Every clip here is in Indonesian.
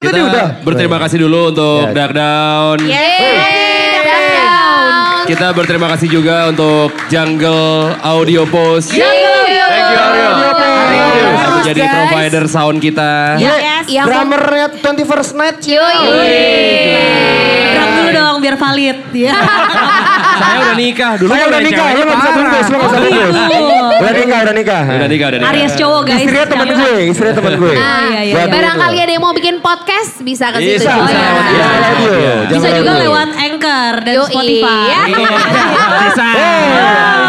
Kita Tadi udah. berterima kasih dulu untuk Dark Down. Yeay, down. Kita berterima kasih juga untuk Jungle Audio Post. Thank you, Aryo. Yang menjadi provider sound kita. Ya, Yes. Yang Drummernya 21st Night. iya. Gerak dulu dong biar valid. Ya. Saya udah nikah dulu. Saya kan udah ada nikah, lu ceweknya, gak bisa parah. bungkus, lu gak bisa Oh, bungkus. gitu. Udah nikah, udah nikah. Udah nikah, udah nikah. Aries cowok guys. Istrinya temen gue, istrinya temen gue. Ah, iya, iya. Buat lu Barangkali tuh. ada yang mau bikin podcast bisa ke situ. Bisa, juga. bisa lewat Iya, Iya. radio, Iya. jangan Bisa juga radio. lewat Anchor dan Yoi. Spotify. Iya. Bisa. Eh,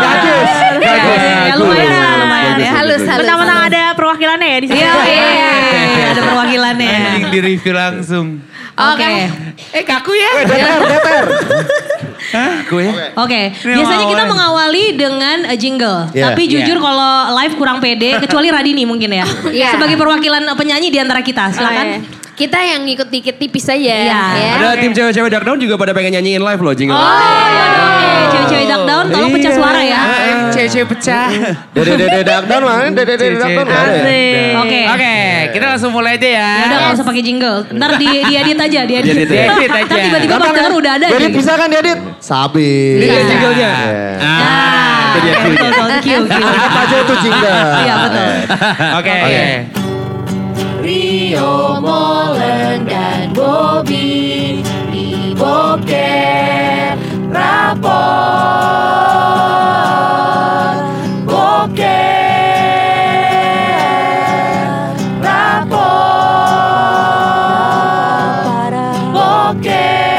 Bagus, Ya, bagus. ya, lumayan lah, lumayan ya. Halus, halus. Mentang-mentang ada perwakilannya ya di sini. Iya, iya. ada perwakilannya. Anjing di review langsung. Oke. Oke. Eh kaku ya. Deter, deter. Gue ya. Oke, Ini biasanya kita awalnya. mengawali dengan eh, jingle. Iya. Tapi jujur kalau live kurang pede, kecuali Radini mungkin ya. Iya. Sebagai perwakilan eh, penyanyi di antara kita, silakan. Oh, iya. Kan Kita yang ngikut dikit tipis aja. Iya. Oh, ya. Ada tim cewek-cewek Dark Down juga pada pengen nyanyiin live loh jingle. Oke, iya, cewek-cewek duck down tolong pecah suara ya. Cewek-cewek pecah. Dede, dede, dark down mana? Dede, dede, dark down mana? ya? Asik. Oke. Oke, kita langsung mulai aja ya. Ya udah nggak usah pakai jingle. Ntar di diedit aja, diedit. Diedit ya? Diedit aja. Ntar tiba-tiba pas Gampang denger kan? udah ada gitu. Jadi aja. bisa kan diedit? kan Sabi. Ini dia Iya. jinglenya. Nah, Ah, itu dia betul, betul, cue, cue. ya. Apa aja itu jingga. Iya, betul. Oke. Oke. Rio Molen dan Bobby di Boker Rapor. Boker Rapor. Boker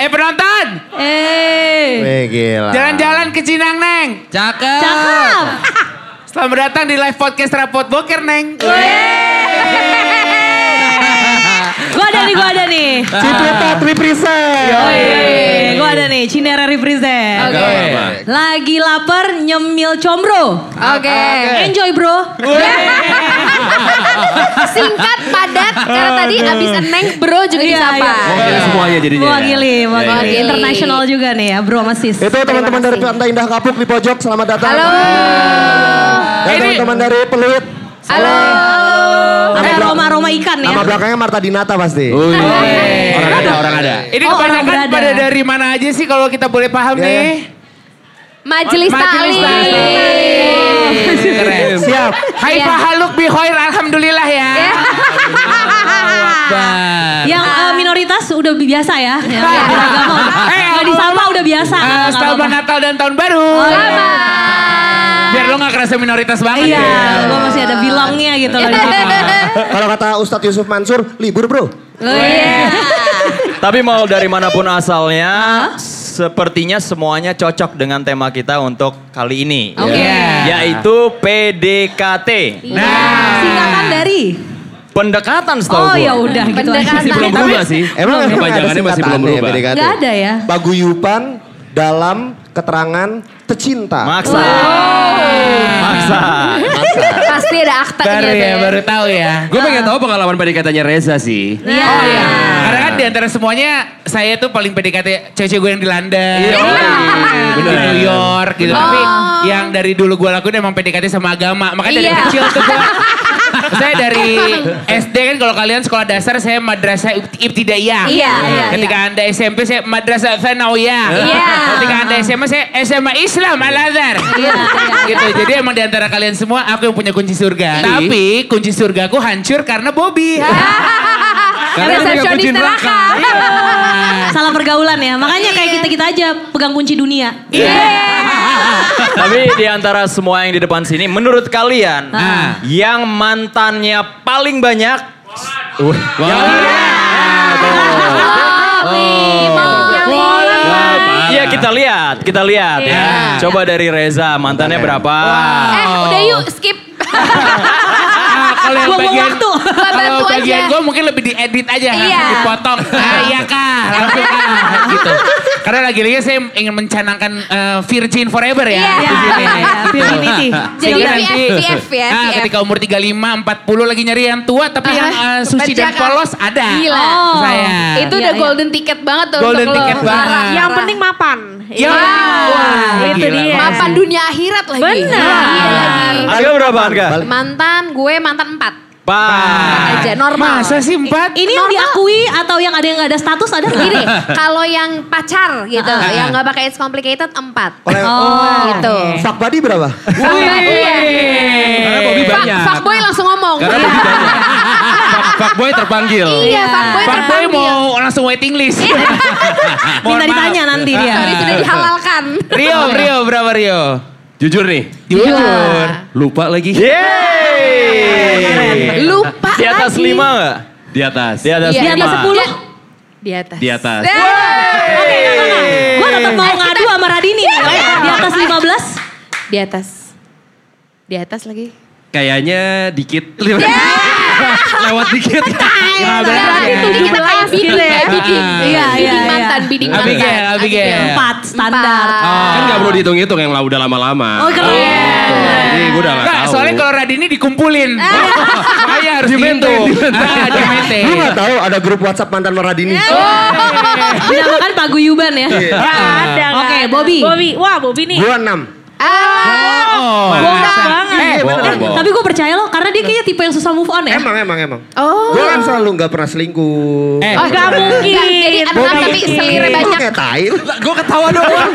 Eh penonton, Eh, Wih, gila. jalan-jalan ke Cinang Neng. Cakep. cakep. Selamat datang di live podcast Rapot Boker Neng. Gua ada nih, gua ada nih. Ciputa, Triprisen. Eh, Gua ada nih, Cinere represent. Gak apa-apa. Lagi lapar nyemil combro. Oke. Enjoy bro. Singkat, padat, karena tadi abis eneng bro juga Iya, disapa. iya. Mewakili semuanya jadinya. ya. Mewakili, Iya, mewakili. iya, iya. International juga nih ya bro sama sis. Itu teman-teman dari Pantai Indah Kapuk di pojok, selamat datang. Halo. Dan teman-teman dari Peluit. Halo. Ada aroma-aroma ikan ya. Nama belakangnya Marta Dinata pasti. Wih. Orang ada, orang ada. Ini Oh, orang kebanyakan berada. pada dari mana aja sih kalau kita boleh paham Ya, Iya, nih? Majelis Majelis Taklim. Keren. Siap. Hai Iya. pahaluk bihoir alhamdulillah ya. Iya. Yang eh, minoritas udah biasa ya. Yang Ah. beragama. Eh, Yang disapa udah biasa. Ah, Nggak Selamat apa-apa. Natal dan Tahun Baru. Biar lo gak kerasa minoritas banget Iya, ya. gue masih ada bilangnya gitu Iya. loh. di situ. Kalau kata Ustadz Yusuf Mansur, libur Oh bro. iya. Tapi mau dari manapun asalnya, sepertinya semuanya cocok dengan tema kita untuk kali ini. ya. Oke. Iya. Iya. Yaitu PDKT. Nah. Singkatan dari. Pendekatan setahu Oh gua. ya udah gitu aja. Pendekatan. Masih belum berubah sih. Emang emang ada kepanjangannya masih belum singkatannya berubah. PDKT? Nggak ada ya? Paguyupan dalam keterangan tercinta. Maksa. Oh. Maksa. Pasti ada akta Baru gitu ya, baru tahu ya. Gue Ah. pengen tahu pengalaman PDKT-nya Reza sih. Iya. Oh iya. Karena kan di antara semuanya saya tuh paling PDKT cewek-cewek gue yang di London. Di bener. New York gitu. Tapi yang dari dulu gue lakuin emang PDKT sama agama. Makanya dari Iya. kecil tuh gue. saya dari SD kan kalau kalian sekolah dasar saya madrasah Ibti- ibtidaiyah. Iya, iya, Ketika Anda SMP saya madrasah tsanawiyah. Iya. Ketika Anda SMA saya SMA Islam Al Azhar. Iya, gitu. Jadi emang di antara kalian semua aku yang punya kunci surga. Tapi kunci surgaku hancur karena Bobby. Karena dia nggak Resepsionis kunci neraka. neraka. Salah pergaulan ya. Makanya kayak kita-kita aja pegang kunci dunia. Iya. Iya. Tapi di antara semua yang di depan sini, menurut kalian Iya. Ah. yang mantannya paling banyak Oh. Iya kita lihat, kita lihat ya. Coba dari Reza, mantannya berapa? Eh udah yuk skip. Ah, kalau yang Buang-buang bagian waktu. kalau Bantu bagian aja. gue mungkin lebih diedit aja Iya. dipotong ah iya kak langsung kak gitu karena lagi lagi saya ingin mencanangkan eh, virgin forever ya Iya. di sini. Femininity. Jadi Jadi nanti VF ya. ah, VF. ketika umur 35 40 lagi nyari yang tua tapi yang Ah, eh, suci dan pecah, Kak. polos ada Gila. saya Ya. Itu Iya, udah iya. golden ticket banget tuh Golden untuk lo. ticket banget. Parah, Yang Yang parah. penting mapan. Ya. Wah, itu gila. dia. Mapan dunia akhirat lagi. Benar. Iya lagi. Harga berapa harga? Balik. Mantan gue mantan empat. Pak. Aja normal. Masa sih empat? Ini yang diakui atau yang ada yang nggak ada status ada nggak? Gini, kalau yang pacar gitu, yang nggak pakai it's complicated empat. Oleh- gitu. Fuck buddy berapa? Sama iya. Karena Bobby Fuck- banyak. Fuckboy langsung ngomong. Karena Bobby banyak. Fuck- Fuckboy terpanggil. Iya, fuckboy Pak Boy terpanggil. mau langsung waiting list. Mohon Minta maaf. ditanya nanti dia. Sorry, sudah dihalalkan. Rio, Iya. Rio berapa Rio? Jujur nih. Iya. Jujur. Lupa lagi. Yeay. Iya. Lupa Di atas lagi. lima nggak? Di atas. Di atas Iya. Di lima. atas sepuluh. Di atas. Di atas. Iya. Eh, Gue tetap mau ngadu sama Radini nih. Di atas 15. Di atas. Di atas lagi. Kayaknya dikit. Lewat dikit. Iya. Nah, berarti itu kita kayak bidding, kayak bidding. Iya, iya, Bidding iya. mantan, bidding mantan. Abigail, Abigail. Empat standar. Ah. Kan gak perlu dihitung-hitung yang lah udah lama-lama. Oh keren. Jadi gue udah gak Enggak, tahu. soalnya kalau Radini dikumpulin. Saya harus Dimenting, dihitung. dimenting. Ah, dimenting. Lu gak tahu ada grup WhatsApp mantan Maradini? Iya, Dinamakan paguyuban ya. Gak ada. gak Oke, ada. Bobby. Bobby. Wah, Bobby nih. Gua enam. Ah, Oh, Botak banget. Eh, Eh, tapi gue percaya lo karena dia kayaknya tipe yang susah move on ya. Emang, emang, emang. Oh. Gua kan selalu gak pernah selingkuh. Eh, Oh, gak mungkin. Enggak, jadi enam Bobby. tapi selirnya Lu banyak. kayak tai. lu. Gue ketawa doang.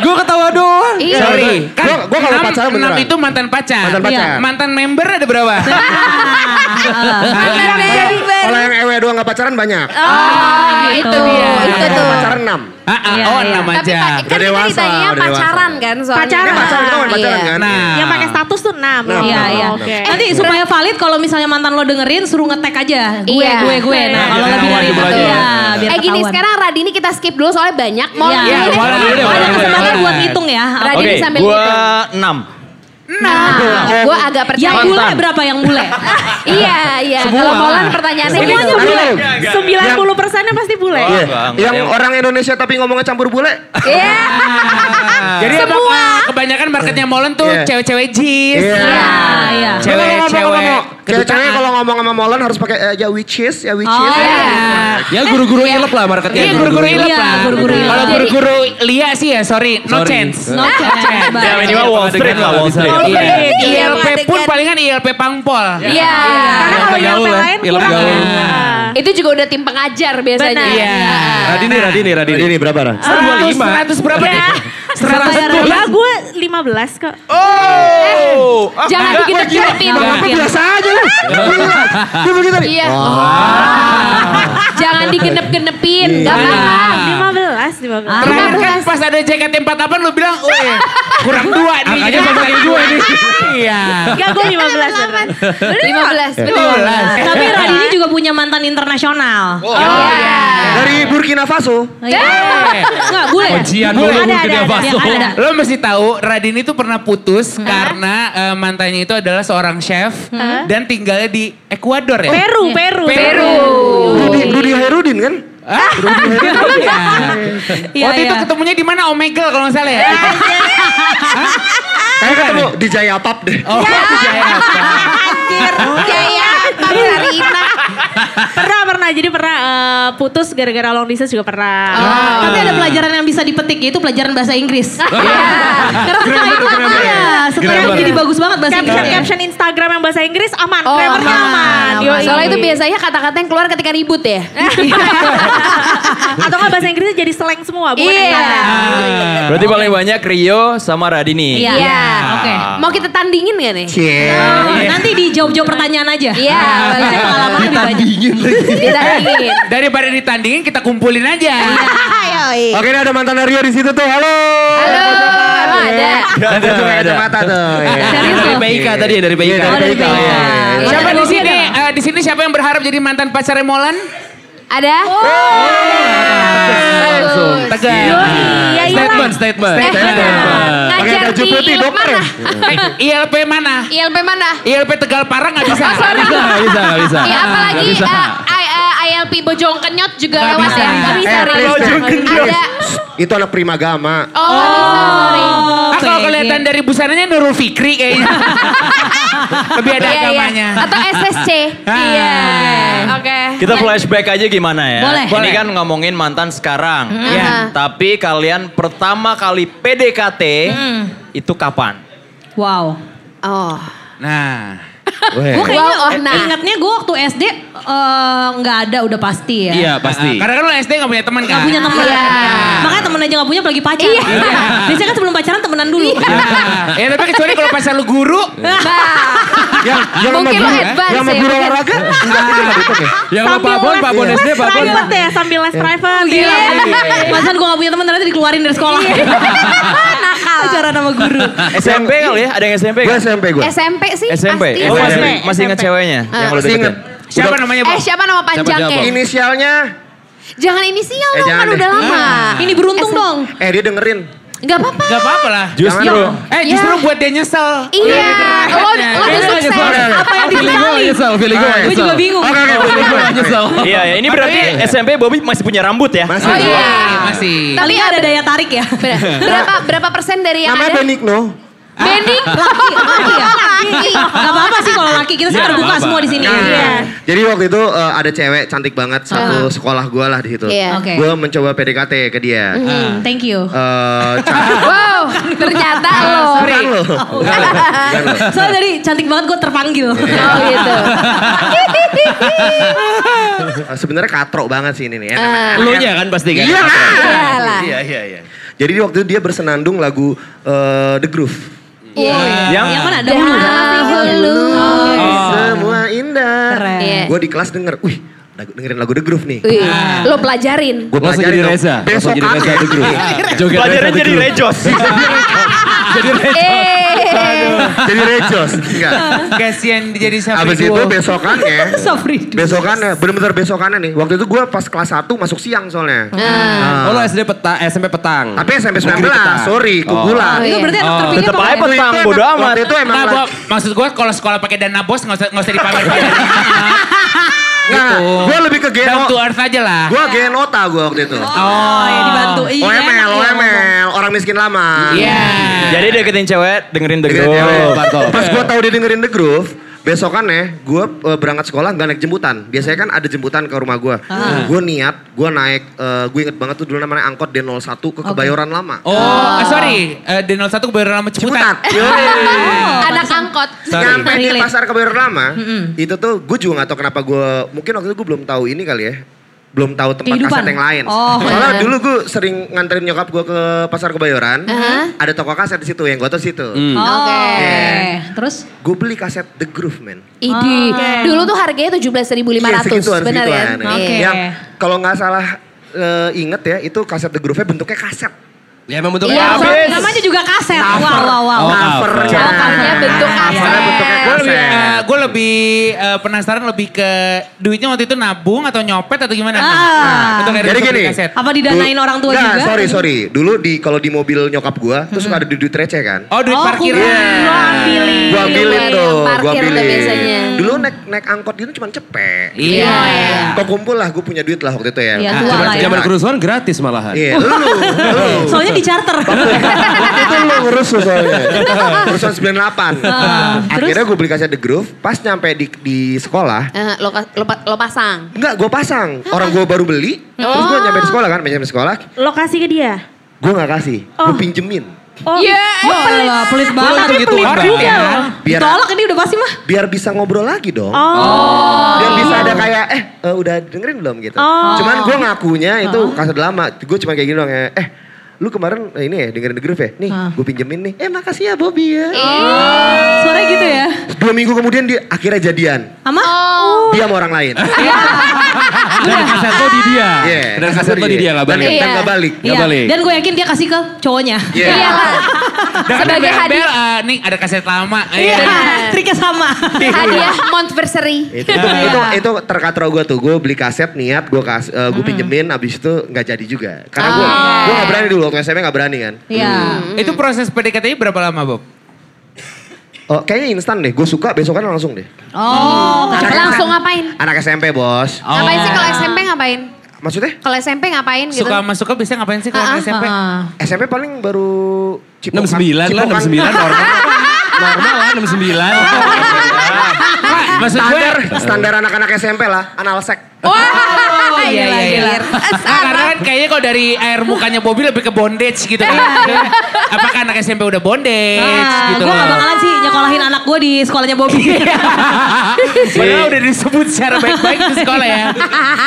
Gue ketawa doang. Iya. sorry. Kan Gua- gua kalau enam- pacaran enam beneran. itu mantan pacar. Mantan Iya. pacar. Mantan member ada berapa? Ah, Mantan member. Kalau yang ewe doang gak pacaran banyak. Ah, gitu itu, dia. itu Yang tuh. pacaran enam. Ah, ah, Iya, oh, iya. enam aja. Tapi pa- kan Udah kita dewasa, ditanya udah dewasa. pacaran kan soalnya. Pacaran. Kan pacaran, kita kan Iya. pacaran kan? Nah, Yang pakai status tuh 6. Nah, Iya, iya. Oke. Nanti supaya valid kalau misalnya mantan lo dengerin suruh ngetek aja. Gue, Iya. gue, gue. Nah, kalau Biar lebih dari ketahuan itu jumlahnya. ya biar Eh gini, ketahuan. sekarang Radini kita skip dulu soalnya banyak. Mau Iya. ini- boleh, boleh, Ada boleh, kesempatan boleh. buat hitung ya. Radini Oke, sambil gua hitung. enam. Nah, gue agak Yang percaya. bule berapa yang bule? iya, iya. Kalau Molan pertanyaannya gitu. Semuanya bule. Aduh. 90 persennya pasti bule. Iya. Bang, Yang yang- orang Indonesia tapi ngomongnya campur bule. Iya. Ah, Jadi emang, eh, kebanyakan marketnya Molen tuh Iya. cewek-cewek jis. Iya. Iya, iya. Lu kalau ngomong- Cewek-cewek ngomong- Cewek-cewek kedutaan. kalau ngomong sama Molan harus pakai eh, ya which is, ya which Oh, is. Ya guru-guru ilep lah marketnya. Iya, guru-guru ilap Iya, Iya. lah. guru-guru ilap. Kalau guru-guru Lia sih ya, sorry, no Sorry. chance. No chance. Ya Baik. minimal Wall Street lah, Wall Street. Iya, Iya. Street. Wall Iya, ILP pun adegan. palingan ILP Pangpol. Iya. Karena kalau Ilap yang gaul, lain ilap kurang. gaul. ya. Itu juga udah tim pengajar biasanya. Benar. Iya. Radini, Nah, Radini, Radini. Nah. Ini berapa Ra? 125. 100 berapa nih? Enggak, 112. gue 15 kok. Eh. Oh, ah, Jangan enggak. bikin Iya. deketin. Aku biasa aja lu. Gila. Dia begitu nih. Iya. Jangan digenep-genepin. Gak apa-apa. Ah. 15, 15. Ah. Terakhir kan pas ada JKT48 lu bilang, "Weh, kurang dua nih." Angkanya cuma kayak dua nih. Iya. Ah. Enggak, gue 15. beneran. 15. Betul. 12. Tapi Radini juga punya mantan internasional. Oh. iya. Dari Burkina Faso. Iya. Enggak, bule. Ujian Bule. dulu Ada, mungkin ada, dia ada, masuk. ada, ada. Lo mesti tahu Radini itu pernah putus karena eh, mantannya itu adalah seorang chef dan tinggalnya di Ekuador ya. Peru, Peru. Peru. Rudi, Rudi Herudin kan? Ah, Iya. Iya, Waktu itu iya. ketemunya di mana Omegle kalau nggak salah ya. Kayak ketemu di Jayapap deh. Oh, Jaya. Anjir. Jaya. Iya. Tapi hari ini. Pernah, pernah. Jadi pernah eh, putus gara-gara long distance juga pernah. Oh, Tapi ada pelajaran yang bisa dipetik yaitu pelajaran bahasa Inggris. Karena setelah itu iya, setelah itu Grammar. jadi bagus banget bahasa Caption, Inggris. caption Instagram yang bahasa Inggris aman. Oh, Grammarnya aman. aman. Yoi. Soalnya itu biasanya kata-kata yang keluar ketika ribut ya. Atau nggak bahasa Inggrisnya jadi slang semua, bukan Iya. Instagram. Nah, Berarti paling banyak Rio sama Radini. Iya. Iya. Oke. Mau kita tandingin gak nih? Cie. Oh, Nanti dijawab-jawab pertanyaan aja. Iya. Jadi pengalaman lebih banyak. Kita tandingin. Daripada ditandingin kita kumpulin aja. Oke, ini ada mantan Rio di situ tuh. Halo. Halo. emang Ada. Ada tuh kayak ada. kacamata tuh. Iya. Nah, Serius Dari loh. PIK tadi ya, dari PIK. Iya, Oh, dari PIK. PIK. Iya, iya. Siapa di Bobby sini? ada Eh, di sini siapa yang berharap jadi mantan pacarnya Molan? Ada. Langsung. Bagus. Tegas. Iya, iya. Statement, statement. Eh, mana? Pakai Ngajar baju di putih, ILP dokter mana? Eh, ILP mana? ILP mana? ILP Tegal Parang nggak bisa. Bisa, nggak bisa, nggak Nah, bisa. Iya, apalagi Nggak bisa. eh, I- eh, ILP Bojong Kenyot juga Nggak lewat bisa. ya. Nggak bisa, Eh, Riz. please, Ada. Itu anak primagama. Oh, nggak bisa, sorry. Ah, Karena kalau kelihatan dari busananya Nurul Fikri kayaknya. Lebih ada Iya, iya. agamanya. Atau SSC. Ah. Iya. Oke. Kita flashback aja gimana ya? Boleh. Ini Boleh. kan ngomongin mantan sekarang. Iya. Tapi kalian pertama kali PDKT itu kapan? Wow. Oh. Nah, Gue Wow, oh, kayaknya nah. ingatnya gue waktu SD eh, nggak ada udah pasti ya. Iya pasti. karena kan lu SD gak punya teman kan? Gak punya teman. Iya. Makanya temen aja gak punya apalagi pacar. Biasanya kan sebelum pacaran temenan dulu. Iya. Nah, ya tapi kecuali kalau pacar lu guru. Iya. Ya, Yang yang sama Mungkin lo guru, advance yang sama ya, guru mungkin. olahraga. Yang sama Pak Bon, Pak Bon SD, Pak Bon. private ya, sambil les Iya. private. Iya. Gila. Masan gue gak punya teman ternyata dikeluarin dari sekolah. Iya. Nakal. Pacaran sama guru. SMP kali ya? Ada yang SMP Gue kan? SMP gue. SMP sih SMP. pasti. Oh, SMP. masih masih ingat ceweknya Ah. yang lo Masih deketin. inget. Siapa namanya, Bu? Eh siapa nama siapa? panjangnya? Inisialnya, Jangan inisial Eh, dong jangan kan deh. udah lama. Ah. Ini beruntung dong. eh dia dengerin. Gak apa-apa. Ya. Gak apa-apa lah. Justru Eh justru buat dia nyesel. gitu. Iya, lo, lo udah sukses. Apa yang Feeling gue dikali? nyesel, feeling gue Oke. Gue nyesel. juga bingung. Oke oke. boleh, boleh. Nyesel. Iya, ya. ini berarti SMP Bobby masih punya rambut ya? Masih. Oh iya. Masih. Tapi ada daya tarik ya. Ber- Berapa berapa persen dari yang Iya, Namanya ada? Oh, Benigno. Benny. Laki ya? Laki. Gak apa-apa sih kalau laki kita Iya, sekarang nggak buka apa-apa. semua di sini. Nah, Iya. Jadi waktu itu eh, ada cewek cantik banget satu sekolah gue lah di situ. Iya. Oke. Gue mencoba PDKT ke dia. Hmm, Thank you. Eh, cantik. Wow, ternyata Ah, lo. Bukan lo. Bukan lo. Soalnya dari cantik banget gue terpanggil. Oh gitu. Eh, Sebenarnya katrok banget sih ini nih. Ya. Ah. Lu nya kan pasti kan? Iya lah. Iyalah. Iya iya iya. Jadi waktu itu dia bersenandung lagu eh, The Groove. Iya. Yang Yang mana Iya, ada hulu. Dahulu. Semua indah. Keren. Iya. Gue di kelas denger, wih lagu- dengerin lagu The Groove nih. Wih, Lo pelajarin. Gue Langsung jadi Reza. Langsung Besok Iya. jadi Reza The Groove. Joget pelajaran Reza The jadi Groove. rejos. Eh. jadi Rejos. Enggak. Kasian jadi siapa Abis itu besokannya. Sofri. besokannya, bener-bener besokannya nih. Waktu itu gue pas kelas 1 masuk siang Ah. soalnya. Ah. Oh lu SD petang, SMP petang. Tapi SMP 19, sorry, Oh, kubulan. Itu iya. berarti anak terpilih Tetep apa aja nggak ada? petang, bodo amat. Waktu itu emang Nah, lagi- gua, maksud gue kalau sekolah pakai dana bos nggak usah nggak usah dipamer Nggak, gue lebih ke Down geno. to earth aja lah. Gue genota gue waktu itu. Oh, ya dibantu. Iya, enak OML, ya. OML, orang miskin lama. Iya. Jadi deketin cewek, dengerin The Dengerin Groove. cewek. Pas gue tahu dia dengerin The Groove, besokannya gue berangkat sekolah nggak naik jemputan. Biasanya kan ada jemputan ke rumah gue. Gue niat, gue naik, gue inget banget tuh dulu namanya angkot D01 ke Kebayoran Lama. Oh, eh, Ah. sorry. Eh, D01 kebayoran lama Ciputat. Ciputat. Yoi. Anak angkot. Nyampe di Relate. pasar Kebayoran Lama, itu tuh gue juga gak tau kenapa gue, mungkin waktu itu gue belum tahu ini kali ya. Belum tahu tempat Kehidupan. kaset yang lain. Oh. Soalnya dulu gue sering nganterin nyokap gue ke pasar Kebayoran. Ada toko kaset di situ yang gue tau situ. Oke. Iya. Terus? Gue beli kaset The Groove Iya, man. Idi. Dulu tuh harganya 17.500. Benar ya? Oke. Iya. Yang kalau nggak salah eh, inget ya itu kaset The Groove-nya bentuknya kaset. Ya emang bentuknya Iya, apa? Soalnya Habis. namanya juga kaset. Wow, wow, wow. Oh, Covernya. cover. Covernya bentuk Soalnya bentuknya kaset. Gue lebih, kaset. eh, gua lebih eh, penasaran lebih ke duitnya waktu itu nabung atau nyopet atau gimana? Nah, Ah. Untuk Jadi Eriko beli gini. kaset. Apa didanain orang tua Nggak, juga? sorry, sorry. Dulu di kalau di mobil nyokap gue, terus suka ada duit receh kan. Oh, duit Oh, parkiran. kumpulin. Lo ambilin. Gua ambilin Yang tuh, gua parkir tuh ambilin. biasanya. Dulu naik naik angkot gitu cuma cepet. Iya. Kok kumpul lah, gue punya duit lah waktu itu ya. Iya, Nah, tua coba lah ya. Zaman cerita. kerusuhan gratis malahan. Iya, lu, lu. Soalnya di charter. iya. Waktu itu lu ngerusuh soalnya. Kerusuhan 98. Ah. Akhirnya gue beli kaset The Groove, pas nyampe di, di sekolah, Eh, Lo kas- lo pa- lo pasang. enggak gue pasang. Orang gue baru beli, terus gue nyampe di Oh. sekolah kan, nyampe di sekolah, Lokasi ke dia. gue gak kasih, gue pinjemin. Oh, Iya. Wah, pelit, pelit banget. Tapi gitu pelit orang juga ya. loh. Biar Ditolak ini udah pasti mah. biar bisa ngobrol lagi dong. Oh, Biar bisa ada kayak eh eh, udah dengerin belum gitu. Oh. Cuman gue ngakunya itu kaset lama. Gue cuma kayak gini doang ya. Eh lu kemarin eh, ini ya dengerin The Groove ya? Nih gue pinjemin nih. Eh makasih ya Bobby ya. Suaranya gitu ya. Dua minggu kemudian dia akhirnya jadian. Ama? Oh. Dia sama orang lain. Dan kaset lo di dia. Iya. Dan kaset lo di dia nggak balik. Dan, dan Iya. gak balik. Nggak balik. Dan gue yakin dia kasih ke cowoknya. Iya. Iya lah. kan Sebagai Bel, hadiah. eh, nih ada kaset lama. Iya. Iya. Triknya sama. Hadiah Montversary. Itu, itu, itu terkatro gue tuh, gue beli kaset niat, gue kas, eh, gue pinjemin, abis itu nggak jadi juga. Karena gue, gue gak berani dulu, waktu SMP gak berani kan. Iya. Hmm. Itu proses PDKT-nya berapa lama, Bob? Oh, kayaknya instan deh, gue suka besokan langsung deh. Oh. Langsung ngapain? Anak SMP bos. Oh. Ngapain sih kalau SMP ngapain? Maksudnya? Kalau SMP ngapain gitu? Suka masuknya biasanya ngapain sih kalau Ah, di SMP? Ah. SMP paling baru Cipokan. 69 lah, Cipokan. 69 normal. Normal lah 69. Pak, maksud gue... Standar, standar anak-anak SMP lah, analsek. Ah, Oh, iya, iya, iya. Nah, karena kan kayaknya kalau dari air mukanya Bobby lebih ke bondage gitu Iya. kan. Apakah anak SMP udah bondage Ah, gitu gue gak loh. Iya. bakalan sih nyekolahin anak gue di sekolahnya Bobby. Padahal udah disebut secara baik-baik di sekolah ya.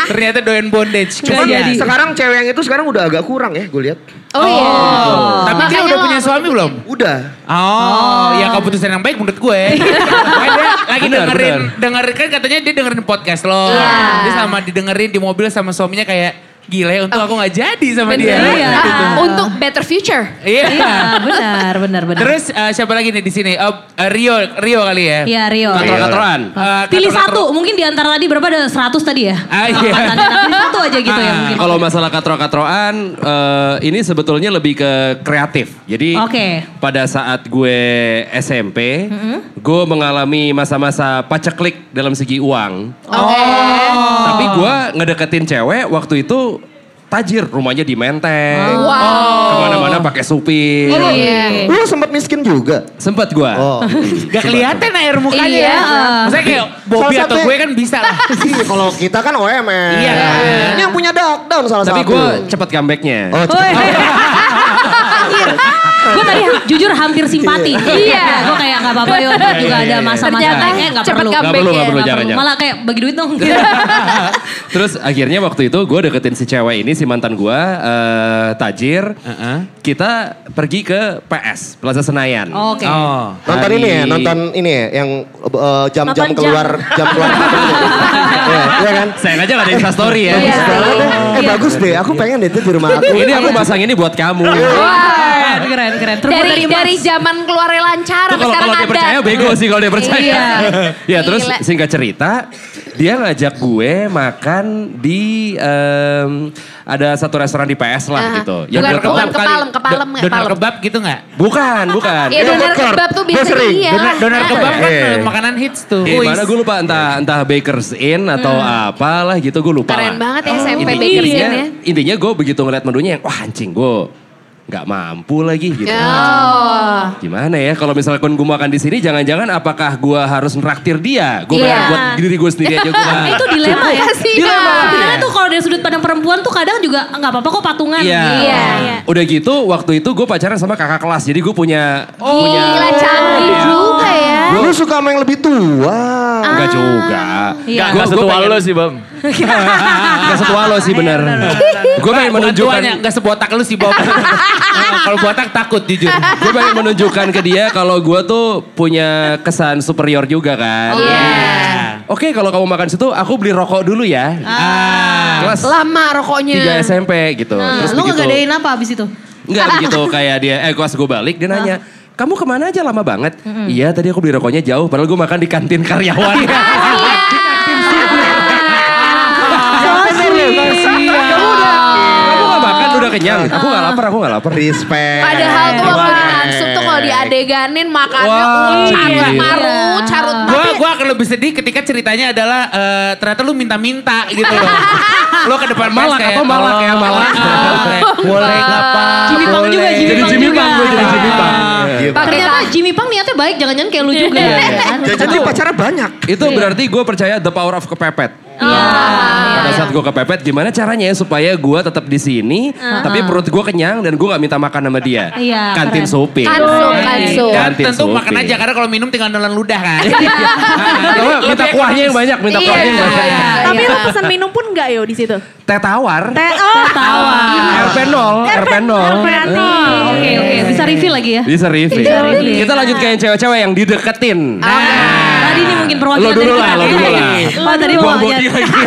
Ternyata doyan bondage. Cuman Kasihan. sekarang cewek yang itu sekarang udah agak kurang ya, gue lihat. Oh iya. Tapi dia Makanya udah lo punya nggak suami belum? Udah. Oh, ya keputusan yang baik menurut gue. Makanya dia lagi Benar, dengerin, dengerin kan katanya dia dengerin podcast lo. Dia sama didengerin di mobil sama suaminya kayak gila ya untuk aku nggak jadi sama dia. Bener. Iya. Ah, Untuk better future. Iya. Iya, benar, benar, benar. Terus eh, siapa lagi nih di sini? Oh, eh, Rio, Rio kali ya. Iya, Rio. Katro-katroan. Eh, katro-katro- Pilih satu, mungkin di antara tadi berapa ada 100 tadi ya? Ah, iya. Angkatannya, nah, Pilih satu aja gitu ya Ah, mungkin. Kalau masalah katro-katroan, eh, ini sebetulnya lebih ke kreatif. Jadi Oke. pada saat gue SMP, gue mengalami masa-masa paceklik dalam segi uang. Tapi gue ngedeketin cewek waktu itu tajir rumahnya di Menteng. Oh. Wow. Kemana-mana pakai supir. Iya. Lu sempet miskin juga. Sempet gue. Oh. Gak kelihatan air mukanya Iya. ya. Maksudnya kayak Bobby Salah atau satu- gue kan bisa lah. Iya, kalau kita kan OMS. Iya. Ini yang punya down salah Tapi satu. gue cepet comebacknya. Oh, cepet. Iya. Gue tadi ha- jujur hampir simpati. Iya. Gue kayak gak apa-apa yuk, Ntar juga ada masa-masa Ternyata kayaknya gak cepet perlu. Gak Gak perlu, comeback ya, gak perlu, Nggak jangan, perlu. jangan. Malah kayak bagi duit dong. Terus akhirnya waktu itu gue deketin si cewek ini, si mantan gue, eh, Tajir. Heeh. Kita pergi ke PS, Plaza Senayan. Oke. Oh. Nonton Hari- ini ya, nonton ini ya, yang eh, jam-jam Nonton jam. keluar, jam keluar. Iya, iya kan? Sayang aja gak ada instastory ya. Iya. Banget deh. Eh bagus deh, aku pengen deh itu di rumah aku. ini aku pasang ini buat kamu. Iya. Keren, keren, keren. Terbuat Dari emas. dari zaman keluarnya lancar Itu sampai kalau sekarang kalau ada. dia percaya bego sih kalau dia percaya. Iya. ya terus Gila. singkat cerita dia ngajak gue makan di em, ada satu restoran di PS lah Aha. gitu. Bukan- donor bukan kebab kali. kepalem, kepalem, Do- Donor kepalem. kebab gitu gak? Bukan, bukan. Iya Donor donor curd. kebab tuh Gue biasanya sering. iya. Donor, donor Ah. kebab kan Eh. makanan hits tuh. Eh, mana gue lupa entah entah Baker's Inn atau apalah gitu gue lupa. Hmm. Keren lah. banget ya SMP Inti- Baker's intinya, Inn ya. Intinya gue begitu ngeliat menunya yang wah anjing gue nggak mampu lagi gitu. Oh. Gimana ya kalau misalkan gue makan di sini jangan-jangan apakah gue harus neraktir dia? Gue Iya. bayar buat diri gue sendiri aja gue. Eh, Itu dilema ya. Kasihan. Dilema. Sebenarnya tuh kalau dari sudut pandang perempuan tuh kadang juga nggak apa-apa kok patungan. Iya. Iya. Udah gitu waktu itu gue pacaran sama kakak kelas. Jadi gue punya Oh. punya Gila canggih juga ya. Lu suka sama yang lebih tua. enggak Ah. juga. Iya. Gak Gua- gua setua pengen- lo sih bang. Gak setua lo sih bener. Iya, Gue pengen menunjukkan menunjukkannya gak sebotak lu sih Bob. Nah, kalau botak takut jujur. gue pengen menunjukkan ke dia kalau gue tuh punya kesan superior Oh, juga kan. iya. Oke kalau kamu makan situ aku beli rokok dulu ya. Ah. Ah, Kelas Lama rokoknya. 3 SMP gitu. Nah, Terus lu begitu. ngegadein apa abis itu? Ah. Enggak begitu kayak dia eh kelas gue balik dia nanya. Kamu kemana aja lama banget? Iya tadi aku beli rokoknya jauh padahal gue makan di kantin karyawan. Iya. Kamu udah, kamu gak makan udah kenyang. Ah. Aku gak lapar, aku gak lapar. Respect. Padahal tuh waktu Iya. makan sup tuh kalau diadeganin makannya Wah, uh, carut iya. marut, carut Gua, marut. gua akan lebih sedih ketika ceritanya adalah eh, ternyata lu minta-minta gitu loh. lo ke depan Malak pes kayak, atau malak ya, malak. "Oh, Boleh gak pak? Jimmy Pang juga, Boleh." Jimmy Jadi Pang Jimmy juga. Ah. Pang, gue jadi Jimmy Pang. Ah. Iya, Pakai Ternyata tangan. Jimmy Pang niatnya baik, jangan-jangan kayak Iya, lu juga. kan? Jadi pacarnya banyak. Itu Iya. berarti gue percaya the power of kepepet. Pada saat gue kepepet, gimana caranya ya supaya gue tetap di sini, tapi perut gue kenyang dan gue gak minta makan sama dia. Iya, Kantin keren. sopir. Kansu, Eh, kansu. Dan Ganti tentu supi. makan aja karena kalau minum tinggal nelan ludah kan. Coba minta kuahnya yang banyak, minta Iya. kuahnya yang banyak. Iya. Tapi lu pesan minum pun enggak yo di situ. Teh tawar, Teh oh. RP0, RP0. Ah, Ah. Oke, oke. Iya. Bisa review lagi ya. Bisa review. review. Kita lanjut ke yang cewek-cewek yang dideketin. Oh, Tadi ini mungkin perwakilan Lo dulu dari lah, kita. lo dulu lah. Oh, tadi Buang maunya. body lagi.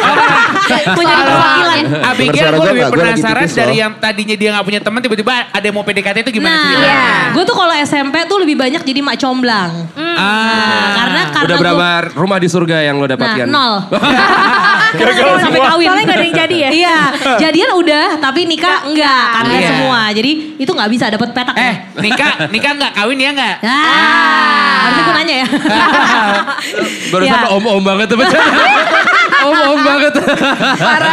Punya perwakilan. Abigail Dengar gue suara Ah, gua lebih nggak? Gua lagi penasaran tipis loh. dari yang tadinya dia gak punya teman tiba-tiba ada yang mau PDKT itu gimana Nah, ceritanya? Iya. gue tuh kalau SMP tuh lebih banyak jadi mak comblang. Nah, Ah. karena karena Udah gua- berapa rumah di surga yang lo dapatkan? Nah, nol. Gagal sampai kawin. Soalnya gak ada yang jadi ya. Iya, jadian udah, tapi nikah enggak karena Iya. semua. Jadi itu nggak bisa dapat petak. ya. Eh, nikah, nikah nggak kawin ya nggak? Ah, harusnya gue nanya ya. Barusan Ya. om-om banget tuh Oh, bercanda. Om-om banget. Parah.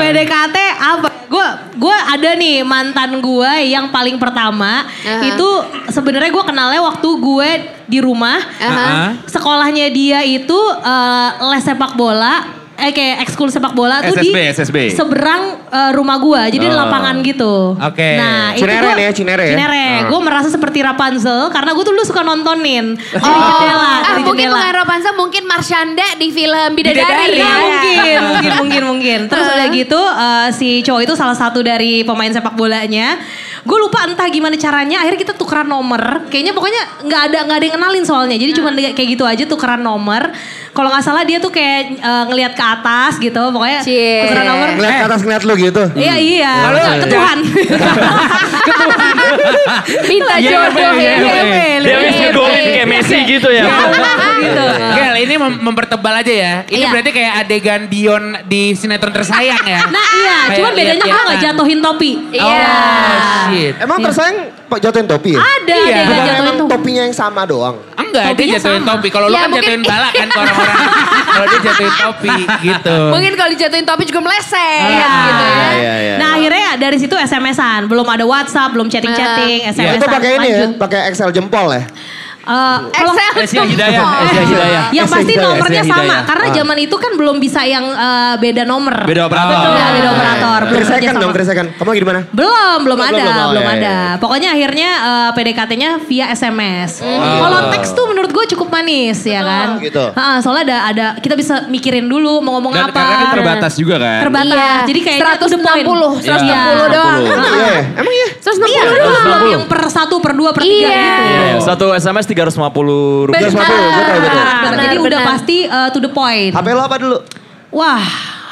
PDKT apa? Gue gue ada nih mantan gue yang paling pertama Aha. itu sebenarnya gue kenalnya waktu gue di rumah Aha. sekolahnya dia itu eh, les sepak bola eh kayak ekskul sepak bola tuh SSB, di SSB. seberang eh, rumah gua jadi di Oh. lapangan gitu. Oke. Nah, Cinere itu gua, nih ya, Cinere ya? Cinere. Ah. Gue merasa seperti Rapunzel karena gue tuh dulu suka nontonin dari jendela, ah, dari mungkin jendela. bukan Ropansa, mungkin Marshanda di film Bidadari. Iya. Bidadari, ya, mungkin, mungkin, mungkin, mungkin. Terus Heeh. udah gitu eh, si cowok itu salah satu dari pemain sepak bolanya. Gue lupa entah gimana caranya. Akhirnya kita tukeran nomor. Kayaknya pokoknya nggak ada nggak ada yang kenalin soalnya. Jadi cuma di- kayak gitu aja tukeran nomor. Kalau nggak salah dia tuh kayak eh, ngelihat ke atas gitu. Pokoknya Cie. tukeran nomor. Ngeliat ke atas ngeliat lu gitu. Iya iya. Ke Tuhan. Minta Iya, jodoh ya. Dia habis ngegolin kayak Messi gitu ya. gitu. Gel, ini mem- mempertebal aja ya. Ini Iya. berarti kayak adegan Dion di sinetron tersayang ya. Nah iya, Kayak cuma bedanya gue nggak lihat-lihatan. jatuhin topi. Ah, Iya. Oh shit. Emang tersayang Pak jatuhin topi ya? Iya. Ada deh nggak Bukan jatuhin emang topi. topinya yang sama doang. Enggak, dia Topinya jatuhin sama. Iya, topi. Kalau lu Ya, kan mungkin- jatuhin bala kan ke orang-orang. Kalau dia jatuhin topi gitu. Mungkin kalau dijatuhin topi juga meleset Iya. gitu ya. iya, iya. Nah akhirnya dari situ SMS-an, belum ada WhatsApp, belum chatting-chatting, SMS-an. Itu pakai ini ya, lanjut. pakai Excel jempol ya. Eh, kalau- Excel Asia Iya, Hidayah, Oh. jempol. Asia Hidayah. yang Asia pasti Iya, Hidayah, Ah. nomornya Asia sama, Hidayah. karena zaman itu kan belum bisa yang eh, beda nomor. Beda operator. Betul, ya, Oh. beda operator. Belum Three kerja sama. second Ah. Iya. dong, three second. Kamu lagi di mana? Belum, belum ada, belum, belum, oh, iya, ada. iya. Pokoknya akhirnya eh, PDKT-nya via SMS. Kalau teks tuh menurut gue cukup manis ya kan. Ah. Gitu. Ha-ha, soalnya ada ada kita bisa mikirin dulu mau ngomong apa. Dan karena kan terbatas juga kan. Terbatas. ya. Jadi Iya. kayaknya to the point. 160, 160 doang. Emang iya ya? Emang iya? 160 Iya, doang. belum yang per satu, per dua, per Iya. tiga gitu. Iya, Satu SMS 350 rupiah. Bener. Betul, betul, betul. Benar, Benar, Jadi udah benar. pasti eh, to the point. HP lo apa dulu? Wah,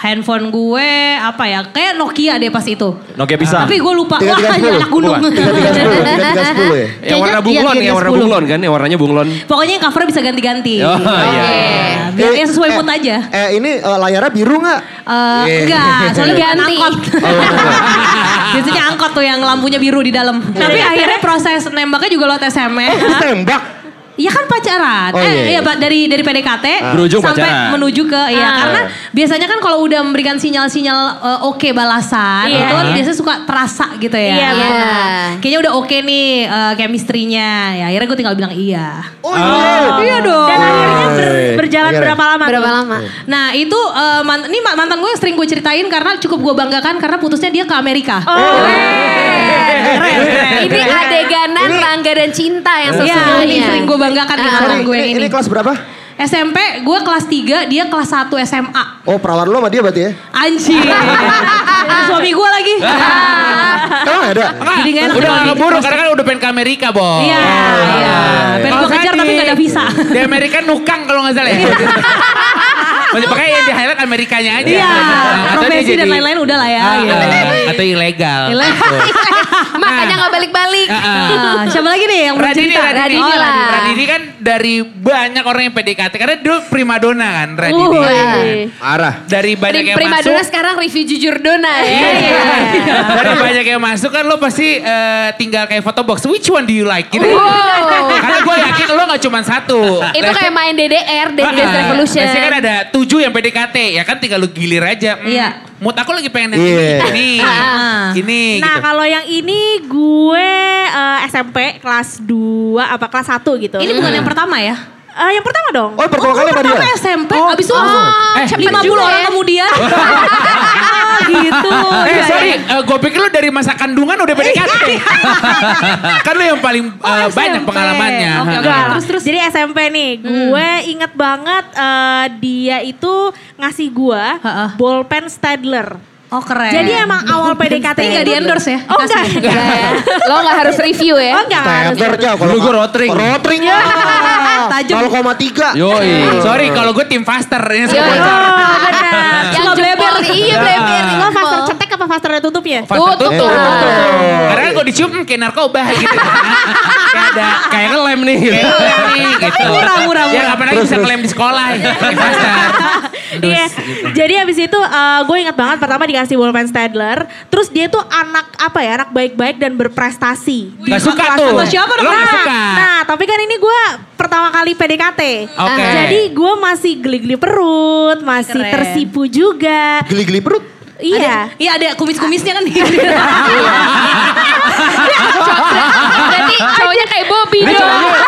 handphone gue apa ya? Kayak Nokia deh pas itu. Nokia bisa. Tapi gue lupa. Wah, Tiga, tiga, sepuluh. anak gunung. Bukan. Tiga tiga sepuluh, tiga tiga sepuluh ya. Yang warna Kayaknya- bunglon, iya, yang warna 310. bunglon kan, yang warnanya bunglon. Pokoknya yang cover bisa ganti-ganti. Oh, Iya. iya. Biar ya sesuai Eh, mood aja. Eh ini eh, layarnya biru nggak? Eh, Iya. Oh, Enggak, soalnya bukan Ganti. angkot. Biasanya angkot tuh yang lampunya biru di dalam. Iya, Tapi akhirnya proses nembaknya juga lewat SMS. Terus tembak. Iya kan pacaran. Oh, eh, iya, iya. Ah. Pak, dari dari PDKT Berujung sampai pacaran. menuju ke Ah. ya karena biasanya kan kalau udah memberikan sinyal-sinyal eh, oke balasan Iya. itu kan biasanya suka terasa gitu ya. Iya, Nah, benar. Kayaknya udah oke nih eh, chemistry-nya. Ya akhirnya gue tinggal bilang iya. Oh iya. Iya dong. Dan akhirnya ber- Iya. berjalan Akhirnya. berapa lama? Berapa tuh? lama? Nah itu eh, mant- ini ma- mantan gue yang sering gue ceritain karena cukup gue banggakan karena putusnya dia ke Amerika. Oh, Ini Iya. adeganan Rangga dan Cinta yang Iya, ini sering sesungguhnya. gue banggakan di Ah. mantan Sorry, gue yang ini ini. kelas berapa? SMP gue kelas 3, dia kelas 1 SMA. Oh perawan lo sama dia berarti ya? Anjir. Ada suami gue lagi. Iya. Iya, Emang ada? Jadi nggak enak udah dong. gak keburu karena kan udah pengen ke Amerika, Bo. Iya, iya. Pengen Kalau gue kejar saya tapi di- gak ada visa. Iya. Di Amerika nukang kalau gak salah ya. Maksudnya Makanya yang di highlight Amerikanya aja. Iya, Atau dia profesi dan jadi- lain-lain udah lah ya. Ah, gitu. ah, Atau ilegal. Ilegal. Tuh. Makanya nggak balik-balik. Ah, ah. Ah, Siapa lagi nih yang mau Radini, cerita? Radini, Oh, Radini lah. Radini kan dari banyak orang yang PDKT karena dulu primadona kan Radini. Uh, Marah. Dari banyak yang Prima masuk. Dona sekarang review jujur Dona ya. Iya. Dari banyak yang masuk kan lo pasti eh, tinggal kayak foto box. Which one do you like? Gitu. Wow. Karena gue yakin lo gak cuma satu. Itu Lesti- kayak main DDR, Dance Dance Ah, Revolution. Lesti kan ada tujuh yang PDKT. Ya kan tinggal lo gilir aja. Hmm, Iya. Mood aku lagi pengen yang Iya. ini. Ini. Ah. ini Nah gitu. kalau yang ini gue eh, SMP kelas 2 apa kelas 1 gitu. Hmm. Ini bukan yang pertama ya? Eh, yang pertama dong. Oh pertama kali sama dia? Eh, Pertama SMP, abis itu langsung Eh, cepet 50 juga orang ya. kemudian. Ah, gitu. Eh Iya, sorry, iya. gue pikir lu dari masa kandungan udah PDKT. kan lu yang paling eh, Oh, banyak SMP. pengalamannya. Oke, oke. Ha-ha. Terus, terus. Jadi SMP nih, gue inget banget eh, dia itu ngasih gue Heeh. bolpen Stadler. Oh keren. Jadi emang awal PDKT Tapi nggak itu- di-endorse ya? Oh enggak. Kasih. Iya, Enggak ya. Lo nggak harus review ya. Oh enggak. harus. Tether ya kalau Dulu gua rotring. Rotring. Tajam. 0,3. Yoi. Sorry kalau gue tim faster. Ini Iya, Yo, semua yo. benar. Iya, Yang Cuma jempol, iya bleber. Lo faster cetek apa faster tutupnya? Faster Tutup. tutup. Tutup. Karena kalau dicium hmm, kayak narkoba gitu. kayak ada kayak ngelem nih. Kayak ngelem nih gitu. Murah, murah, Ya murah. kapan lagi bisa ngelem di sekolah. ya. Kayak Faster. Dus, Iya. Jadi abis itu eh, gue ingat banget pertama dikasih Wolfman Stadler. Terus dia tuh anak apa ya anak baik-baik dan berprestasi. Di Gak suka kelas tuh. gua. Siapa dong? Lo gak Nah, suka. Nah tapi kan ini gue pertama kali PDKT. Oke. Jadi gue masih geli-geli perut, masih Keren. tersipu juga. Geli-geli perut. Iya. Iya ada kumis-kumisnya kan. Iya. Berarti cowoknya kayak Bobby Ini dong. cowoknya,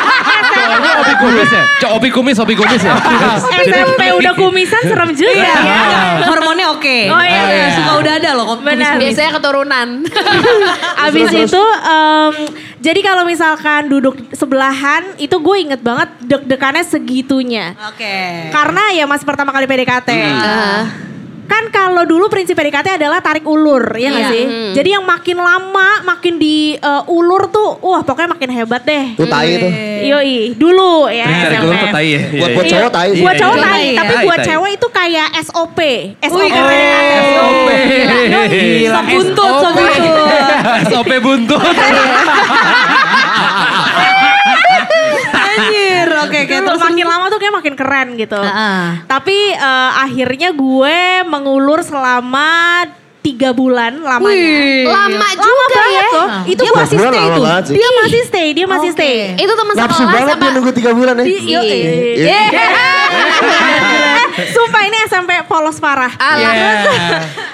cowoknya opi kumis ya? Cowok opi kumis, opi kumis ya? SMP udah kumisan serem juga Iya. ya. Ah. Hormonnya oke. Oh, iya, iya. Suka udah ada loh kumis- Benar. kumis. Biasanya keturunan. Abis itu em, jadi kalau misalkan duduk sebelahan itu gue inget banget deg-degannya segitunya. Oke. Karena ya masih pertama kali PDKT. Hmm. Ah. Kan kalau dulu prinsip PDKT adalah tarik ulur, ya nggak Iya. sih? Jadi yang makin lama, makin diulur tuh, wah pokoknya makin hebat deh. Tuh tai itu. Yoi, dulu ya. Tarik ulur SMP. tuh tai ya? Buat buat Iya. cowok tai sih. Buat cowok Iya, tai, iya. tapi Tai, buat tai. cewek itu kayak SOP. SOP. Oh. Gila, Sok buntut, SOP. sok buntut. SOP buntut. Anjir, oke oke. Dulu Terus Ah, makin lama tuh kayak makin keren gitu. Heeh. Tapi eh, akhirnya gue mengulur selama tiga bulan lamanya. Lama juga ya. banget loh. Itu Tiga gua kan? masih bulan stay lama tuh. banget sih. Dia masih stay, dia masih Oke. stay. Itu teman Nafsu sekolah banget sama dia nunggu 3 bulan ya. Iya. Iya. Eh, Sumpah ini SMP polos parah. Alah.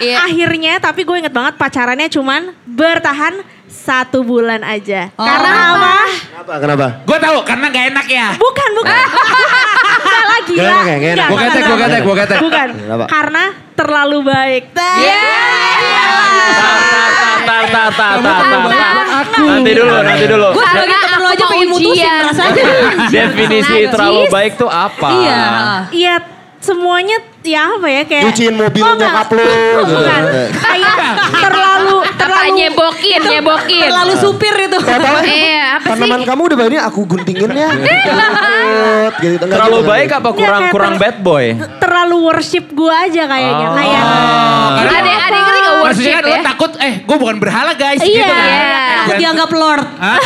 Iya. Akhirnya tapi gue inget banget pacarannya cuman bertahan satu bulan aja. Karena apa? Kenapa? Kenapa? Gue tahu karena gak enak ya. Bukan, bukan. Salah gila. Gak enak ya, gak enak. Enggak, Gua ketek, enggak, gua enggak. ketek, gua ketek. Bukan. Kenapa? Karena terlalu baik. Iya. Iya. Tar, tar, tar, tar, tar, tar. Aku. Nanti dulu, nanti dulu. Gue sebagai Karena temen lo aku aja mau pengen mutusin ujian. rasanya. Definisi Najis. terlalu baik tuh apa? Iya. Iya, semuanya ya apa ya kayak Cuciin mobil Oh, enggak. nyokap lu. gitu. Eh, Bukan. Kayak terlalu Apa terlalu nyebokin, nyebokin. Terlalu supir itu. Tahu-tahu Iya, apa sih? Tanaman kamu udah baik ini aku guntingin ya. Ikut, gitu. Enggak, Terlalu gitu, enggak baik gitu. apa kurang kayak Iya, kurang ter- bad boy? terlalu worship gue aja kayaknya. Oh. Kayak Ada ada yang ngerti gak Maksudnya worship kan lo ya? takut, eh gue bukan berhala guys. Iya. Gitu kan. Aku dianggap lord. Ah, ah,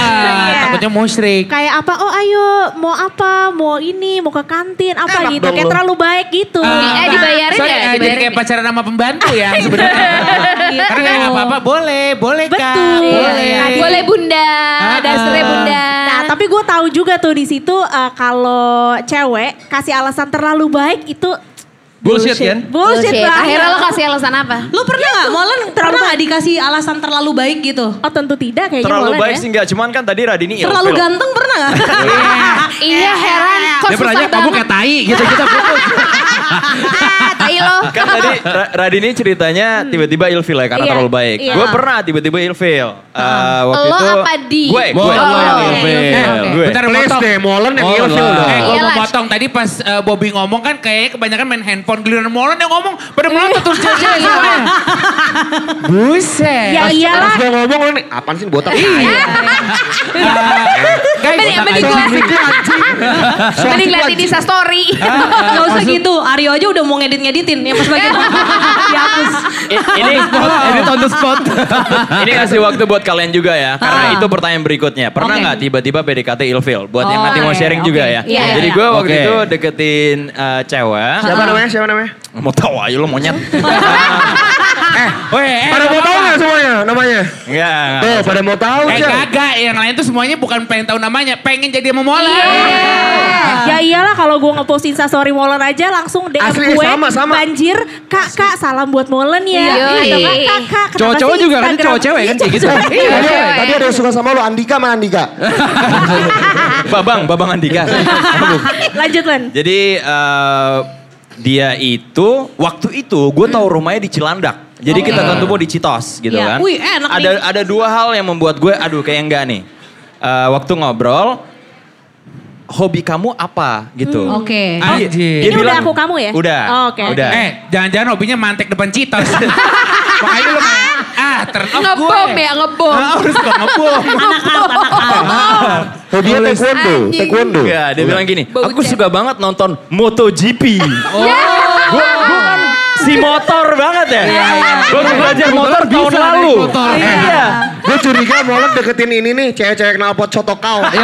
Iya. takutnya musyrik. kayak apa? Oh ayo, mau apa? Mau ini, mau ke kantin, apa Enak gitu. dong Kayak lu. terlalu baik gitu. Ah. Eh, Sorry, eh, dibayarin nggak? Jadi Dibayarin Iya, kayak nggak? pacaran sama pembantu ya sebenarnya. Karena kayak nggak apa-apa boleh, boleh kak. Betul. Boleh. Iya. Boleh bunda, dasarnya bunda. Nah, tapi gue tahu juga tuh di situ eh, kalau cewek kasih alasan terlalu baik itu Bullshit, kan? bullshit, banget. Akhirnya lo kasih alasan apa? Lu pernah gak? Molen pernah gak dikasih alasan terlalu baik gitu? Oh tentu tidak kayaknya Terlalu Molen baik ya. sih enggak, cuman kan tadi Radini Terlalu ilfil. ganteng pernah gak? Iya heran, kok Dia susah pernahnya kamu banget. kayak tai gitu. Kita fokus. Ah, tai lo. Kan tadi Ra- Radini ceritanya tiba-tiba ilfil ya karena Iya, terlalu baik. iya. Gue pernah tiba-tiba ilfil. Eh, waktu Lo itu ya? apa di? Gue, Mau gue. lo yang Oh, oke, ilfil. oke, oke. Gue. Iya, Bentar Please potong. deh, molen yang Molen. ilfil dong. Eh, gue Iyalah. mau potong tadi pas eh, Bobby ngomong kan kayaknya kebanyakan main handphone giliran Molen yang ngomong pada melotot terus cewek semuanya. Buset. Iya. Ya Terus iyalah. gue ngomong lu nih, apaan sih botak? Guys, Mending botak mending aja. gue mending liatin di story. Gak usah gitu. Aryo aja udah mau ngedit-ngeditin. Yang pas bagian dihapus. I- Ini Ini on the spot. ini kasih waktu buat kalian juga ya. Karena Ah. itu pertanyaan berikutnya. Pernah Oke. nggak tiba-tiba PDKT ilfil? Buat yang Oh, nanti mau oke, sharing juga oke. ya. Iya, Jadi iya. gue waktu Oke. itu deketin eh, cewek. Siapa namanya? Siapa namanya? Mau tahu aja lo monyet. Weh, eh, Pada mau apa-apa. tahu nggak semuanya namanya? Enggak, Oh, enggak. Tuh, Oh, pada mau tahu Eh Cak. kagak, yang lain tuh semuanya bukan pengen tahu namanya, pengen jadi sama Molen. Ah. Ya iyalah kalau gue ngepost instastory Molen aja langsung DM Asli, gue sama, sama. banjir kak kak salam buat Molen Iya. ya. Atau kak kak kak. kenapa Cowok-cowok sih juga kan, Instagram- cowok-cewek kan kayak gitu. Eh, Tadi, Iya, ada- cewek. tadi ada yang suka sama lo Andika sama Andika. Babang, Babang Andika. Lanjut Len. Jadi eh, dia itu waktu itu gue tahu rumahnya di Cilandak. Jadi kita ketemu di Citos gitu Iya. kan. Wih, enak ada ada dua hal yang membuat gue aduh kayak enggak nih. Eh, waktu ngobrol hobi kamu apa gitu. Oke. Ah, Anjir. Hmm. Ini udah aku kamu ya? Udah. Oh, oke. Udah. Oh. Eh, jangan-jangan hobinya mantek depan citos. Makanya lu kayak, ah turn off gue. Ngebom ya, ngebom. Ah, harus gak ngebom. Hobinya Oh, taekwondo, Anjing. taekwondo. Enggak, dia bilang gini, Bau ya?" aku cewek." suka banget nonton MotoGP. Oh. Ya. Gue kan si motor banget ya. Gue belajar motor tahun lalu. Iya. Gue curiga Molen deketin ini nih, cewek-cewek knalpot cotokau. Iya,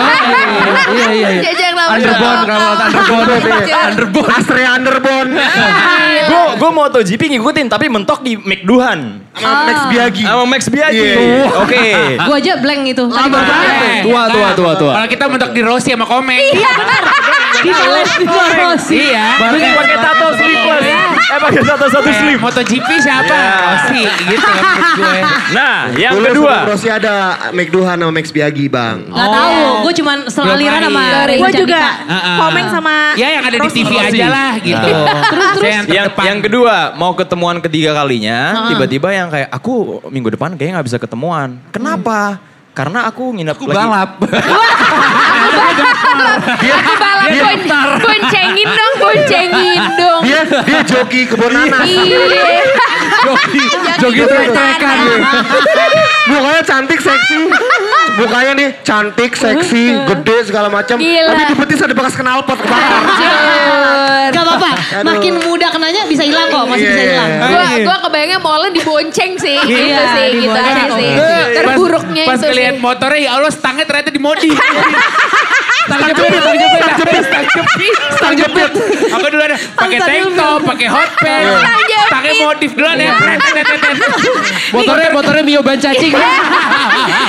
iya, iya. Jajang lama. Underbone, kalau underbone. Underbone. Astri Underbone, Gue gue MotoGP ngikutin tapi mentok di McDuhan. sama Max Biagi. Sama Max Biaggi. Iya. Tuh, Oke. Gue aja blank gitu. itu. Tadi Tua, tua, tua, tua. Kalau kita mentok di Rossi sama Komeng. Iya benar. Di les di les. Iya. Berarti pakai tato sleeveless. Eh pakai tato satu Eh, sleeve. MotoGP siapa? Iya. Osi gitu kan menurut gue. Nah, yang Dulu kedua. sebelum Rossi ada Mike Duhan sama Max Biagi bang. Oh. Gak tahu, gue cuman Belum selaliran sama Iya. hari. Ray Gue Candika. juga ah, Heeh. komen sama Ya yang ada di TV Rossi. aja lah gitu. Terus terus. Iya. yang, yang kedua mau ketemuan ketiga kalinya tiba-tiba yang kayak aku minggu depan kayaknya nggak bisa ketemuan kenapa karena aku nginep Aku lagi balap. Aku balap bon- boncengin dong, boncengin dong. Dia dia joki kebun nanas. Iya. Jogi, jogi Jogi trek-trekan. Iya, gitu Mukanya cantik seksi. Mukanya nih cantik, seksi, gede segala macam. Gila. Tapi di betis ada bekas knalpot kebakar. Iya. Gak apa-apa, makin muda kenanya bisa hilang kok, masih Iya, bisa iya, hilang. iya. Gua, gua kebayangnya mallnya dibonceng sih, gitu sih, gitu aja sih. Terburuknya Iya, Eh, pas, itu pas ngeliat sih. motornya ya Allah stangnya ternyata dimodi. Stang jepit, stang jepit, stang jepit, stang jepit, stang jepit. Aku dulu ada pakai tank top, pakai hot pants, Stang jepit. pakai modif dulu ya. Motornya, motornya Mio ban cacing.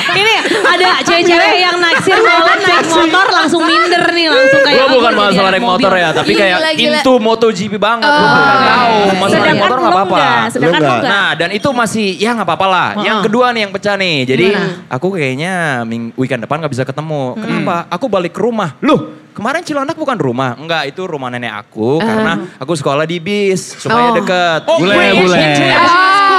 Ini ada cewek-cewek yang naksir malam naik motor langsung minder nih, langsung kayak Gue aku bukan udah masalah di naik mobil. motor ya, tapi Gila, kayak gila. into MotoGP banget. Gue nggak tahu, masalah naik motor nggak lo apa-apa. enggak, Sedangkan lo enggak. Nah, dan itu masih ya nggak apa-apa lah. Yang kedua nih yang pecah nih. Jadi aku kayaknya ming- weekend depan nggak bisa ketemu. Kenapa? Aku balik ke rumah. Loh, kemarin Cilandak bukan rumah. Enggak, itu rumah nenek aku karena aku sekolah di bis supaya Oh. deket. Eh. Oh, Bule, British bule. Ah, eh, International.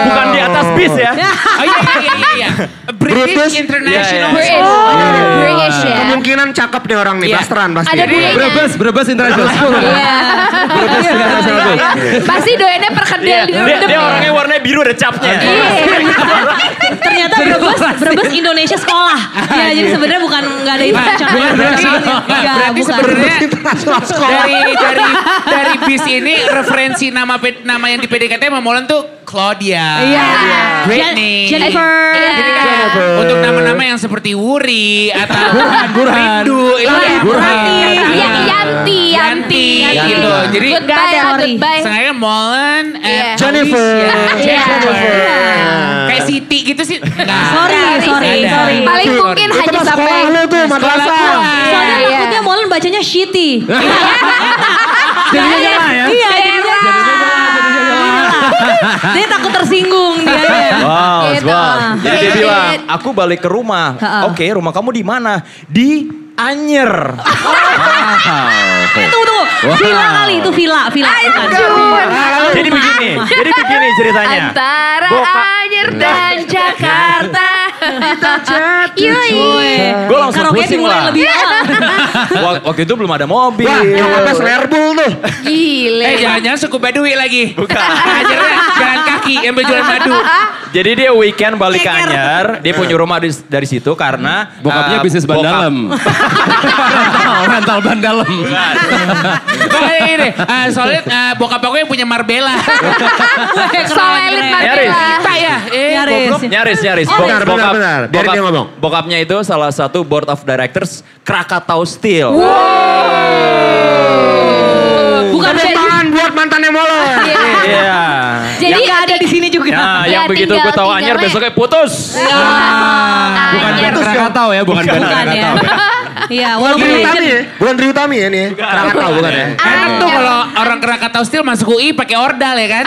Bukan di atas bis ya. Oh iya, iya, iya, iya. British International. British. British ya. Kemungkinan cakep nih orang nih, Iya. blasteran, blasteran. Ada bulenya. Brebes, Brebes International School. Iya. Brebes International School. Pasti doyannya Iya, perkedel di Dia, dia orangnya warnanya biru ada capnya. Ternyata Brebes, Brebes Indonesia sekolah. Ya, jadi Iya. sebenarnya bukan nggak ada internasional. Bukan berarti, Iya, berarti bukan. sebenarnya dari dari dari bis ini referensi nama pe- nama yang di PDKT sama Molan tuh Claudia. Iya. Britney. Jen- Jennifer. Jadi kan untuk nama-nama yang seperti Wuri atau Burhan, Burhan. Rindu itu Burhan. kan Burhan. Ya, Yanti, Yanti, Yanti, gitu. Jadi Nggak ada, goodbye, sorry. goodbye. sengaja Molan Iya. eh, Jennifer. Alicia, Iya. Jennifer. Kayak Siti gitu sih. Nggak. Sorry, sorry, Nggak ada. sorry. Paling Sorry. mungkin Itu hanya mah sampai. sekolah lu tuh, madrasah. Soalnya Iya. takutnya Molen bacanya shitty. Jadinya nyala ya. Iya, jadinya salah. Dia takut tersinggung dia. ya. Wow, Gitu. wow. Jadi dia Iya. bilang, aku balik ke rumah. Oke, rumah kamu di mana? Di Anyer. Eh, Tunggu, tunggu. Villa kali itu villa, villa. bukan. Jadi begini, jadi begini ceritanya. Antara Boka- Anyer dan Jakarta. Yoi. Gue langsung Karaoke pusing dimulai lah. lebih awal. Wak- Waktu itu belum ada mobil. Iya, Wah, nyokapnya slerbul tuh. Gile. Eh jangan-jangan suku Badui lagi. Bukan. Ajarnya jalan kaki ambil jualan madu. Jadi dia weekend balik ke Ceker. Anyer, dia punya rumah di- dari situ karena Bokapnya eh, bisnis ban bokap- dalam. Rental, rental ban dalam. Bukan ini deh. Eh, soalnya eh, bokap aku yang punya Marbella. Soelit Nyaris. Marbella. Kita ya. Eh, Nyaris. goblok. Nyaris, nyaris. Oh, bentar, bentar, bentar. Biarin dia ngomong. Bokapnya itu salah satu board of directors Krakatau Steel. Bukan jadi. Tangan buat mantannya Molen. Iya. Jadi Nggak ada di sini juga. Nah, Ya, yang begitu tinggal- gue tahu tinggal Anyer we. besoknya putus. Iya. Ah, Iya, Bukan Anyer. ban Krakatau ya, bukan ban Bukan ya. Krakatau. Iya, Bukan walaupun Tri Utami legend. ya? Bukan Tri Utami ya nih? Kenapa tahu bukan ya? Enak tuh kalau orang Krakatau Steel masuk UI pakai ordal ya kan?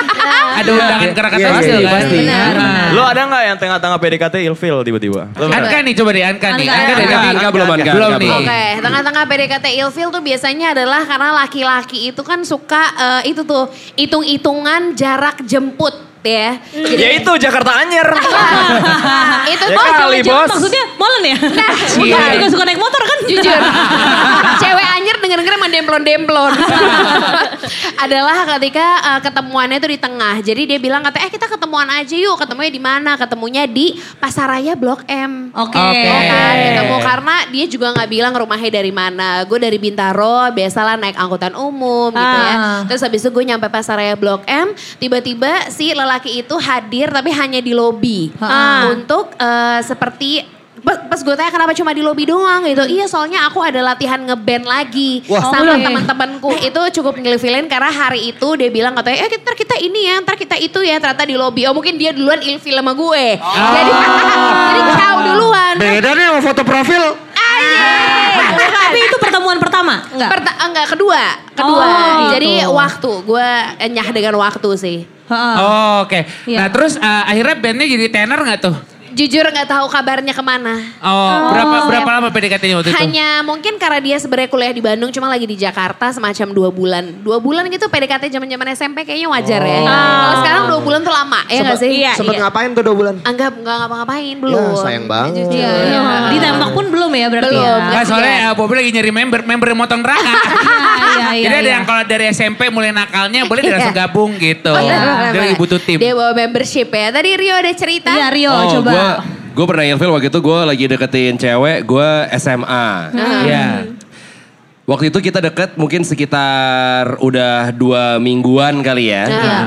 Ada undangan Iya, Krakatau iya, Steel iya, kan? pasti. Nah. Lo ada nggak yang tengah-tengah PDKT ilfil tiba-tiba? Lo nggak ada? Anka nih coba deh, Anka nih. Anka, ya? Anka dari Anka, tadi. Anka, belum, Anka, Belum Anka, nih. belum. Oke, tengah-tengah PDKT ilfil tuh biasanya adalah karena laki-laki itu kan suka eh, itu tuh hitung-hitungan jarak jemput ya. Ya itu Jakarta Anyer. itu Ya tuh kali, Jangan, Bos. Maksudnya Molen ya? Nah, iya. juga suka naik motor kan? jujur cewek anjir denger denger emang demplon demplon adalah ketika uh, ketemuannya itu di tengah jadi dia bilang kata eh kita ketemuan aja yuk ketemunya di mana ketemunya di pasaraya blok M Oke. Ya kan, ketemu karena dia juga nggak bilang rumahnya dari mana. Gue dari Bintaro, biasalah naik angkutan umum gitu ya. Ah. Terus habis itu gue nyampe pasaraya Blok M, tiba-tiba si lelaki itu hadir tapi hanya di lobi Ah. untuk eh, seperti pas, pas gue tanya kenapa cuma di lobi doang gitu. Iya soalnya aku ada latihan ngeband lagi sama Oke. Eh. teman-temanku. Itu cukup ngilfilin karena hari itu dia bilang katanya eh kita, ntar kita ini ya, ntar kita itu ya ternyata di lobi. Oh mungkin dia duluan ilfil sama gue. Jadi jadi ciao duluan. Beda nih sama foto profil. Anjing. Tapi itu pertemuan pertama. Enggak. Eh, Perta- enggak, kedua. Kedua. Oh, Jadi gitu. waktu, gue nyah dengan waktu sih. Heeh. Oh, Oke. Iya. Nah terus eh, akhirnya bandnya jadi tenor nggak tuh? Jujur nggak tahu kabarnya kemana. Oh, berapa berapa lama PDKT-nya waktu itu? Hanya mungkin karena dia sebenarnya kuliah di Bandung, cuma lagi di Jakarta semacam dua bulan. Dua bulan gitu PDKT zaman zaman SMP kayaknya wajar ya. Kalau sekarang dua bulan tuh lama, ya nggak sih? Iya, Sempet ngapain tuh dua bulan? Anggap nggak ngapa-ngapain belum. Ya, sayang banget. Jujur. Iya. Ditembak pun belum ya berarti Belum. ya. Nah, iya. soalnya eh, Bobby lagi nyari member, member yang motong neraka. Iya, iya, Jadi ada iya. yang kalau dari SMP mulai nakalnya boleh dia langsung Iya. gabung gitu. Boleh, boleh, Dia lagi boleh. butuh tim. Dia bawa membership ya. Tadi Rio ada cerita. Iya Rio coba. Oh, Gua, gua pernah ilfil waktu itu gue lagi deketin cewek, gue SMA. Iya. Waktu itu kita deket mungkin sekitar udah dua mingguan kali ya. Iya.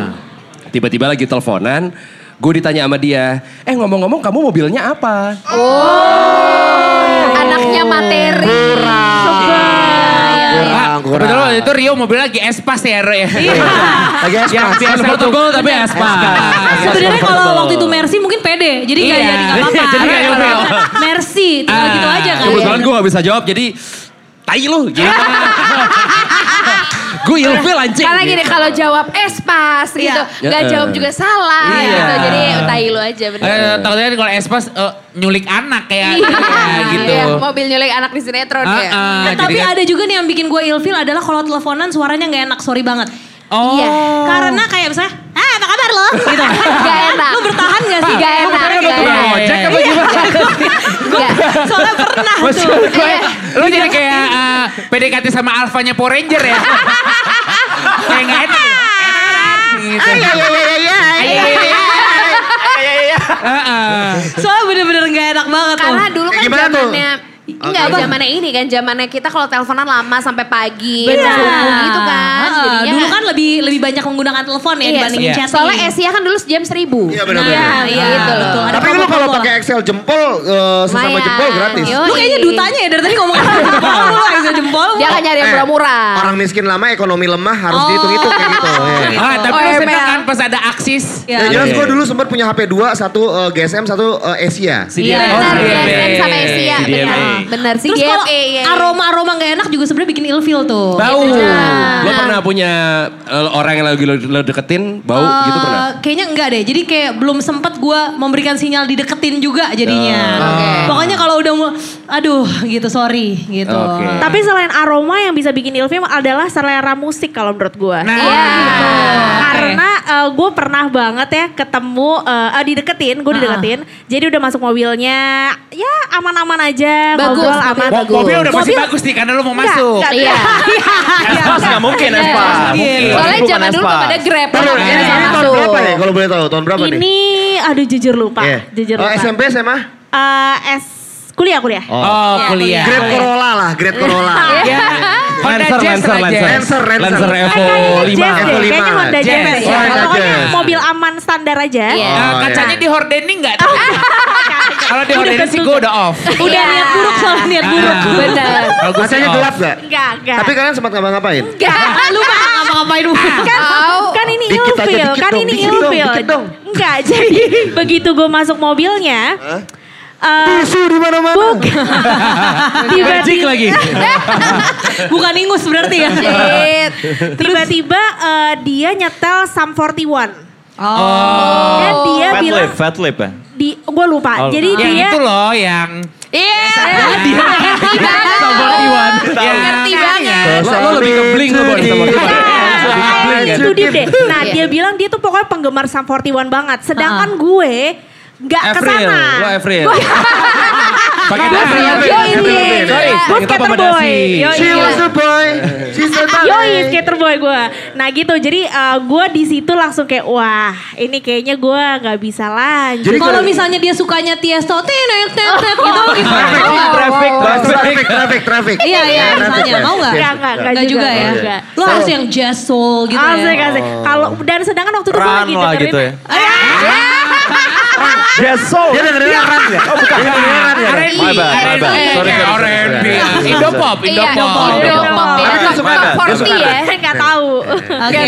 Tiba-tiba lagi teleponan, gue ditanya sama dia, eh ngomong-ngomong kamu mobilnya apa? Oh, Anaknya materi. Iya. Kurang, kurang. Betul itu Rio mobil lagi espas ya Rio ya. Lagi es Yang biasa portable tapi espas. Iya. Sebenarnya kalau waktu itu Mercy mungkin pede. Jadi nggak Iya. jadi nggak apa-apa. Jadi nggak Karena nyomel. Mercy tinggal Ah, gitu aja kan. Kebetulan gue gak bisa jawab jadi tai lu gitu. gue ilfil anjing. Karena gitu. gini Ah, kalau jawab es pas gitu, Iya. nggak Iya. jawab juga salah Iya. gitu. Jadi tai lu aja bener. Eh, takutnya kalau espas eh, nyulik anak kayak kayak gitu. Iya, mobil nyulik anak di sinetron Ah, ya. ah, Nah, jadi tapi kan- ada juga nih yang bikin gue ilfil adalah kalau teleponan suaranya nggak enak, sorry banget. Oh. Iya. Karena kayak misalnya, ah apa kabar lo? Gitu. Gak enak. Lo bertahan gak sih? Gak enak. Lu Gak tukang enak. ojek apa iya. gimana? Gak. Soalnya pernah tuh. Iya. Lu jadi kayak eh, PDKT sama alfanya Power Ranger ya? Kayak gak enak. ya? Gitu. Iya, iya, iya. Ya, Ah, ah. Soalnya bener-bener gak enak banget. Karena Om. dulu kan Gimana tuh? zamannya Enggak, Apa? zamannya ini kan, zamannya kita kalau teleponan lama sampai pagi, Benar. subuh gitu kan. Ah, Jadinya Iya. dulu kan lebih lebih banyak menggunakan telepon ya Iya, dibandingin iya. chatting. Soalnya Asia kan dulu jam seribu. Iya Nah, benar-benar. iya, iya, Gitu loh. betul. Ada Tapi lu kalau promo-promo pakai lah. Excel jempol eh, sesama Lumayan. jempol gratis. Yoi. Lu kayaknya dutanya ya dari tadi ngomong jempol lu gak bisa jempol. Dia akan nyari yang Eh, murah-murah. Orang miskin lama ekonomi lemah harus Oh. dihitung-hitung kayak gitu. Iya. Ah, tapi lu OML. seneng kan pas ada aksis. Ya. Ya, jelas gue dulu sempat punya HP 2, satu eh, GSM, satu eh, Asia. Iya. Benar, Oh, dia CDMA. kan sama Asia. Benar, CDMA. benar iya, sih. Terus kalau aroma-aroma gak enak juga sebenarnya bikin ilfil tuh. Bau. Nah. Gue pernah punya eh, orang yang lagi lo, lo deketin bau Eh, gitu pernah. Kayaknya enggak deh. Jadi kayak belum sempet gue memberikan sinyal dideketin juga jadinya. Pokoknya kalau udah mau, aduh gitu sorry gitu. Oke. Nah. Tapi selain aroma yang bisa bikin ilfil adalah selera musik kalau menurut gue. Nah, gitu. Karena gue pernah banget ya ketemu eh, eh, dideketin, Ah. gue dideketin. Jadi udah masuk mobilnya, ya aman-aman aja, Bagus, ngobrol mobil aman. bagus. mobil udah pasti Mobil- bagus nih karena lu mau Enggak, masuk. enggak, Iya. Espas nggak mungkin Espas. Nggak Iya, mungkin. Soalnya Bukan zaman dulu Espas. belum ada Grab. Tahu, Orang ini bisa ini tahun masuk. berapa ya kalau boleh tahu? Tahun berapa nih? Ini aduh jujur lupa, Iya. jujur Oh, lupa. SMP SMA? Eh, S kuliah kuliah. Oh, kuliah. Grade Corolla lah, Grade Corolla. Ya. Honda Lancer, Jazz, Lancer, Honda Lancer. Jazz. Lancer, Lancer. Lancer Eh, Evo Kayaknya 5. Jazz deh, Evo lima. kayaknya Honda Jazz. Jazz. ya. Honda Pokoknya Jazz. mobil aman standar aja. Iya. Eh, Oh, kacanya iya. di hordening nggak tuh? Kalau di hordening sih gue udah off. Udah Iya. niat buruk soalnya niat buruk. Ah. Benar. Kalau gua sih Kacanya off. gelap gak? Enggak, Iya. enggak. Tapi kalian sempat ngapa-ngapain? Ah, Lu mah ngapa-ngapain lu. kan, Au. kan ini Dikit aja, ilfil, dikit kan dong, ini dikit dong, ilfil. dikit dong. Enggak, jadi begitu gue masuk mobilnya, eh, Tisu di mana-mana. Magic lagi. Bukan ingus berarti ya. Shit. tiba-tiba eh, dia nyetel Sum 41. Oh. Dan dia Fat bilang lip, fat lip ya. di gue lupa. Oh, Jadi Yang dia itu loh yang Iya. Sama Iwan. Yang Ngerti banget. Eh, Lo, lo lebih ke bling lo Bon, sama Iya. kita. Nah, ya? Bling, kan? itu dia deh. Nah, Iya. dia bilang dia tuh pokoknya penggemar Sum 41 banget. Sedangkan gue nggak April, kesana. lo Eh, April. Pakai Gue dasi. skater boy. Sorry, Gue kita skater pakai boy. dasi. Yoi. She was the boy. She's the boy. Yoi skater boy gue. Nah gitu. Jadi eh, gue di situ langsung kayak wah ini kayaknya gue nggak bisa lanjut. Jadi Kalau kalau- misalnya dia sukanya Tiesto, tenet, tenet gitu Oh. gimana? Traffic, oh. Traffic, traffic, traffic. Iya, Iya, iya, misalnya. Mau nggak? Nggak, nggak, nggak Enggak juga ya. Nggak. Lu harus yang jazz soul gitu Asik, ya. asik. Kalau dan sedangkan waktu itu gue Run lagi lah dengerin gitu ya. Dia dengerin rap ya? Iya. Oh bukan. Iya, Dia dengerin rap ya? R&B. Ah, My bad, my bad. Sorry, Kayak sorry, sorry. R&B. Sorry, sorry. Indopop, Iya, Indopop. Dopop, Dopop. Dopop. Iya, Tapi dia Top- suka top ada, dia 40 suka ya. Kan nggak tahu. Oke.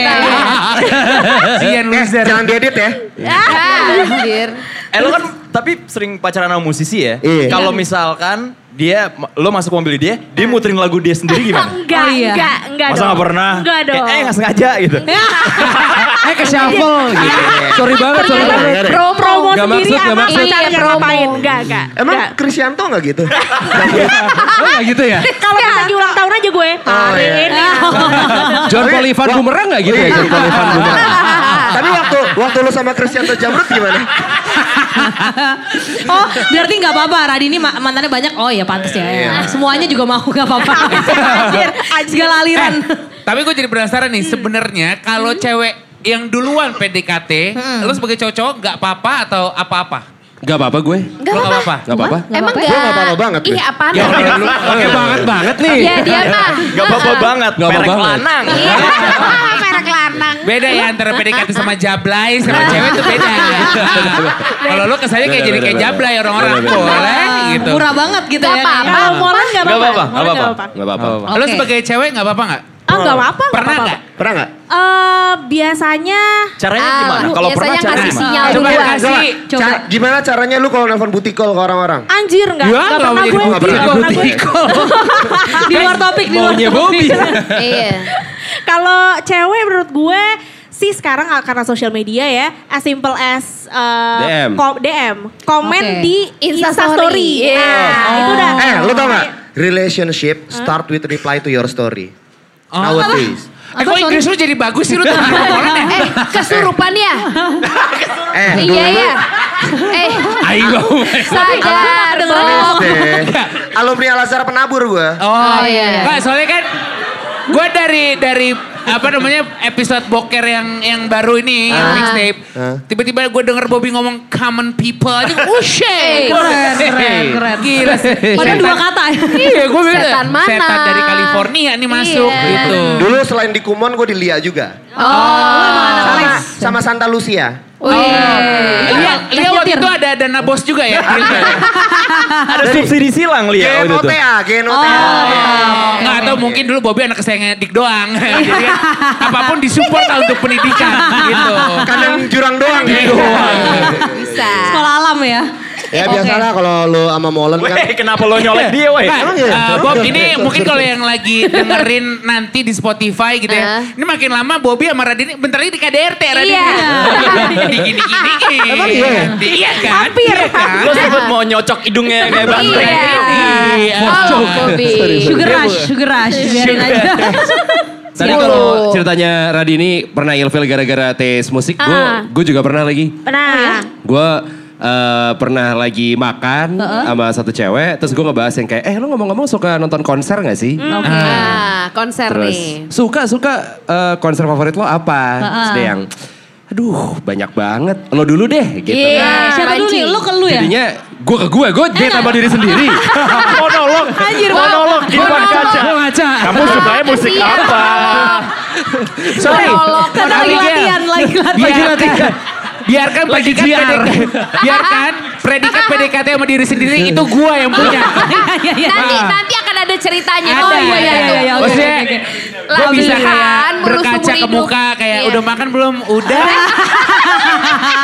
Sian Eh, loser. Iya, jangan diedit ya. Ah, Anjir. Eh lu kan tapi sering pacaran sama musisi ya. Iya. Kalau misalkan dia lo masuk mobil dia, dia muterin lagu dia sendiri gimana? Enggak, Oh, iya. enggak, enggak Masa dong. nggak pernah? Enggak Kayak, dong. eh nggak sengaja gitu. Eh ke shuffle gitu. Sorry banget, sorry banget. Promo, promo Nggak sendiri maksud, nggak sama maksud. pacarnya Iya, promo. ngapain. Enggak, enggak. Enggak. Emang Krisyanto nggak gitu? Lo gak gitu ya? Kalau bisa diulang tahun aja gue. Hari ini. John Polivan Bumerang gak gitu ya? John Polivan Bumerang. Iya. Tapi waktu waktu lu sama Krisyanto Jamrut gimana? Oh, berarti nggak apa-apa. Radini ma- mantannya banyak. Oh ya pantas ya. Iya. Semuanya juga mau nggak apa-apa. Anjir, segala aliran. Eh, Tapi gue jadi penasaran nih sebenarnya kalau cewek yang duluan PDKT, lu sebagai cowok-cowok nggak apa-apa atau apa-apa? Gak apa-apa gue. Gak Lo nggak Iya. apa-apa. apa-apa? Gak apa-apa. Emang gak? apa-apa ya? Gua nggak apa-apa banget, Ih Beh. apaan? ya. Oke banget banget nih. Iya dia mah. Gak apa-apa banget, Nggak apa-apa perek banget. lanang. Iya. Merek lanang. Beda ya antara PDKT sama jablay sama cewek itu beda ya. Kalau lu kesannya kayak jadi kayak jablay orang-orang boleh gitu. Ah, Murah banget gitu Nggak ya. apa-apa. Kalau molen enggak Nggak apa-apa. apa-apa, Molen nggak nggak apa-apa. Gak apa-apa. Lu Oke. sebagai cewek nggak apa-apa nggak? Ah, enggak apa-apa. nggak Pernah apa-apa. nggak? Pernah nggak? Eh, biasanya Caranya Ah, gimana? lu Kalau biasanya pernah caranya ngasih gimana? sinyal Coba duluan. kasih. Coba. Ca- gimana caranya lu kalau nelfon butikol ke orang-orang? anjir enggak. Ya, Enggak nggak pernah mau gue. jadi Nggak pernah. Nggak pernah gue. Di luar topik, di luar Maunya Bobby. topik. Iya. Kalau cewek menurut gue sih sekarang ah, karena sosial media ya as simple as uh, DM. ko- DM komen Oke. di Instastory. Instastory. Iya. Nah, Oh. itu udah. Eh, lu tau nggak? Relationship start with reply to your story. Nowadays. Eh kok Inggris lu jadi bagus sih lu tuh? Eh kesurupan ya? Eh, Iya ya. Eh Ayo. sadar dong. Alumni Alumni Al-Azhar penabur gua. Oh, Oh, iya. Nggak, soalnya kan gue dari dari apa namanya episode boker yang yang baru ini yang mixtape Ah. tiba-tiba gue denger Bobby ngomong common people aja oh shit Keren, keren, keren. gila sih Padahal Setan. dua kata. ya. iya gue bilang Setan mana? setan dari California nih masuk Iya. gitu Dulu selain di Kumon gue di Lia juga. Iya. Sama, sama Santa Lucia. Oh, Iya, Lia, Lia waktu itu ada dana bos juga ya Ada subsidi silang Iya, oh, Lia waktu itu. Genotea, Genotea. nggak atau mungkin dulu Bobby anak kesayangan Dik doang Jadi kan, apapun disupport lah untuk pendidikan gitu Iya. Kadang jurang doang. ya. Bisa. Sekolah alam ya. Ya biasalah kalau lu sama Molen kan. Weh, kenapa lo nyolek dia weh? Pak, iya? eh, Bob ini mungkin kalau yang lagi dengerin nanti di Spotify gitu ya. Eh. Ah. Ini makin lama Bobby sama Radini bentar lagi di KDRT Radini. Iya. Dikini gini gini. Emang iya ya? Iya kan? Hampir. Iya kan? Lo sempet mau nyocok hidungnya kayak banteng. Iya. Iya. Oh Bobby. Sugar rush, sugar rush. Biarin aja. Iya, Tadi Sepuluh. kalau ceritanya Radini pernah ilfil gara-gara tes musik, gue Ah. gue juga pernah lagi. ya? Nah, Gue eh, pernah lagi makan sama satu cewek, terus gue ngebahas yang kayak, eh lu ngomong-ngomong suka nonton konser gak sih? Nah konser nih. Terus suka suka eh, konser favorit lo apa? Terus dia yang, aduh banyak banget. Lo dulu deh gitu. Iya. Nah, Siapa dulu nih? Lu ke lu ya? Jadinya gue ke gue, gue dia tambah diri sendiri. Monolog, monolog di depan kaca. Gue ngaca. Kamu sukanya musik Iya. apa? Sorry. Karena lagi latihan, lagi latihan. Biarkan, biarkan predikat PDKT, biarkan predikat PDKT sama diri sendiri itu gua yang punya. Iya, iya. Nanti Ah. nanti akan ada ceritanya. Ada, oh iya ada. iya iya. iya, oke, Maksudnya, oke, oke. gue Lah, bisa belikan, kayak mulus berkaca seumur ke hidup. muka kayak Iya. udah makan belum? Udah.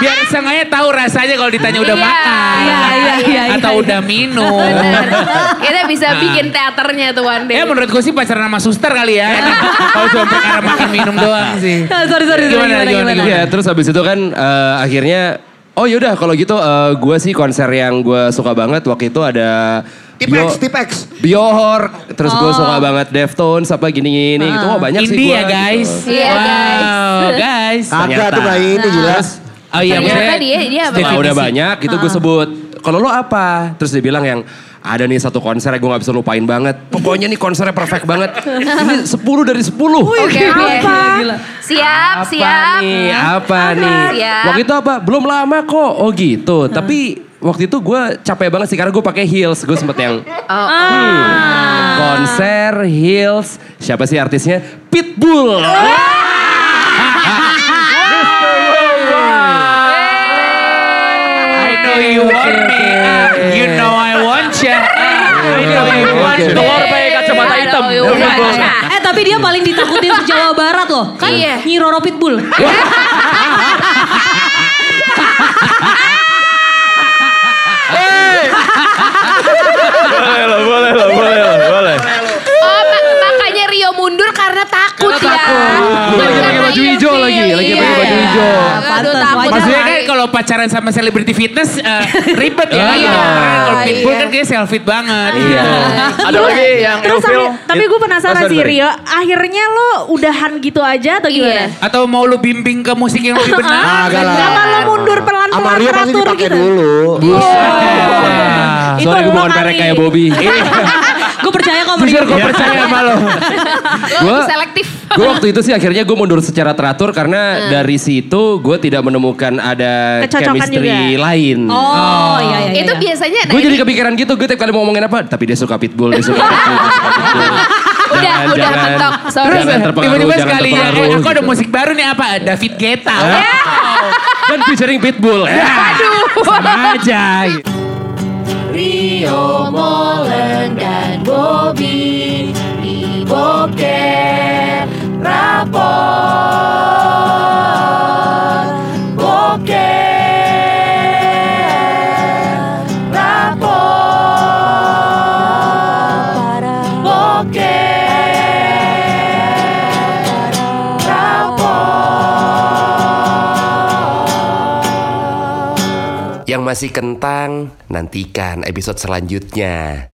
Biar seenggaknya tahu rasanya kalau ditanya udah Iya, makan. iya, iya, iya, Atau iya. udah minum. Bener. Kita bisa bikin teaternya tuh one day. Ya menurut gue sih pacaran sama suster kali ya. Kalau cuma perkara makan minum doang sih. Ah, Sorry, sorry, sorry. Gimana, Gimana, gimana, gimana? gimana? Iya, terus habis itu kan eh, akhirnya oh yaudah kalau gitu eh, gue sih konser yang gue suka banget waktu itu ada Tipex, Bio- tipex. Biohor, terus gue suka banget Deftones apa gini-gini gitu. Oh Oh. banyak sih Indie gue. ya guys. Iya, Wow, guys. Kagak Ternyata. tuh bayi ini jelas. Oh iya, Ternyata maksudnya dia- dia apa? Setelah definisi. udah banyak gitu Ah. gue sebut. Kalau lo apa? Terus dia bilang yang ada nih satu konser yang gue gak bisa lupain banget. Pokoknya nih konsernya perfect banget. Ini 10 dari 10. Oke, oke. Siap, Apa siap. nih? Apa Apa? nih? Siap. Waktu itu apa? Belum lama kok. Oh gitu. Tapi waktu itu gue capek banget sih karena gue pakai heels. Gue sempet yang Hmm. Oh. konser heels. Siapa sih artisnya? Pitbull. I know you want me. You know I want Iya, you. I know you want me. Telur pakai kacamata I hitam. know you want ya. Eh tapi dia paling ditakutin se Jawa Barat loh. Kan Iya. Nyi Roro Pitbull. boleh lah, boleh lah, boleh lah, boleh. Oh, ma- makanya Rio mundur karena takut ya. Gue lagi pakai baju hijau lagi, lagi iya. pakai baju hijau. Aduh, Pantes, takut. wajar. Maksudnya kan kalau pacaran sama selebriti fitness eh, ribet ya. Iya. Kalau pitbull kan kayaknya selfie banget. gitu. Iya. Ada lagi yang Terus tapi, Eufil. tapi gue penasaran Oh, sorry, sih sorry. Rio, akhirnya lo udahan gitu aja atau Iya. gimana? Atau mau lu bimbing ke musik yang lebih benar? Ah, Agak lah. Kenapa lo mundur Sama Rio pelan-pelan pasti teratur dipakai gitu? dulu. Wah. Itu Sorry gue lo bukan kali. perek kayak Bobby. Gue percaya kok sama Jujur Rio. gue percaya sama lo. Lo Gua- selektif. Gue waktu itu sih akhirnya gue mundur secara teratur karena dari situ gue tidak menemukan ada Kecocokan chemistry juga. lain. Oh, iya, iya, Itu iya. biasanya nah Gue jadi ini kepikiran gitu, gue tiap kali mau ngomongin apa, tapi dia suka pitbull, dia suka pitbull, dia suka pitbull. udah Jangan, udah jangan. mentok. Sorry. Terus Jangan eh, terpengaruh, tiba-tiba jangan sekali ya, eh, terpengaruh, Eh? aku ada gitu. musik baru nih apa? David Guetta. Dan Kan featuring pitbull. Ya. Sama aja. gitu. Rio Molen dan Bobby di Boker Rapor Boker Rapor Boker Rapor Yang masih kentang, nantikan episode selanjutnya.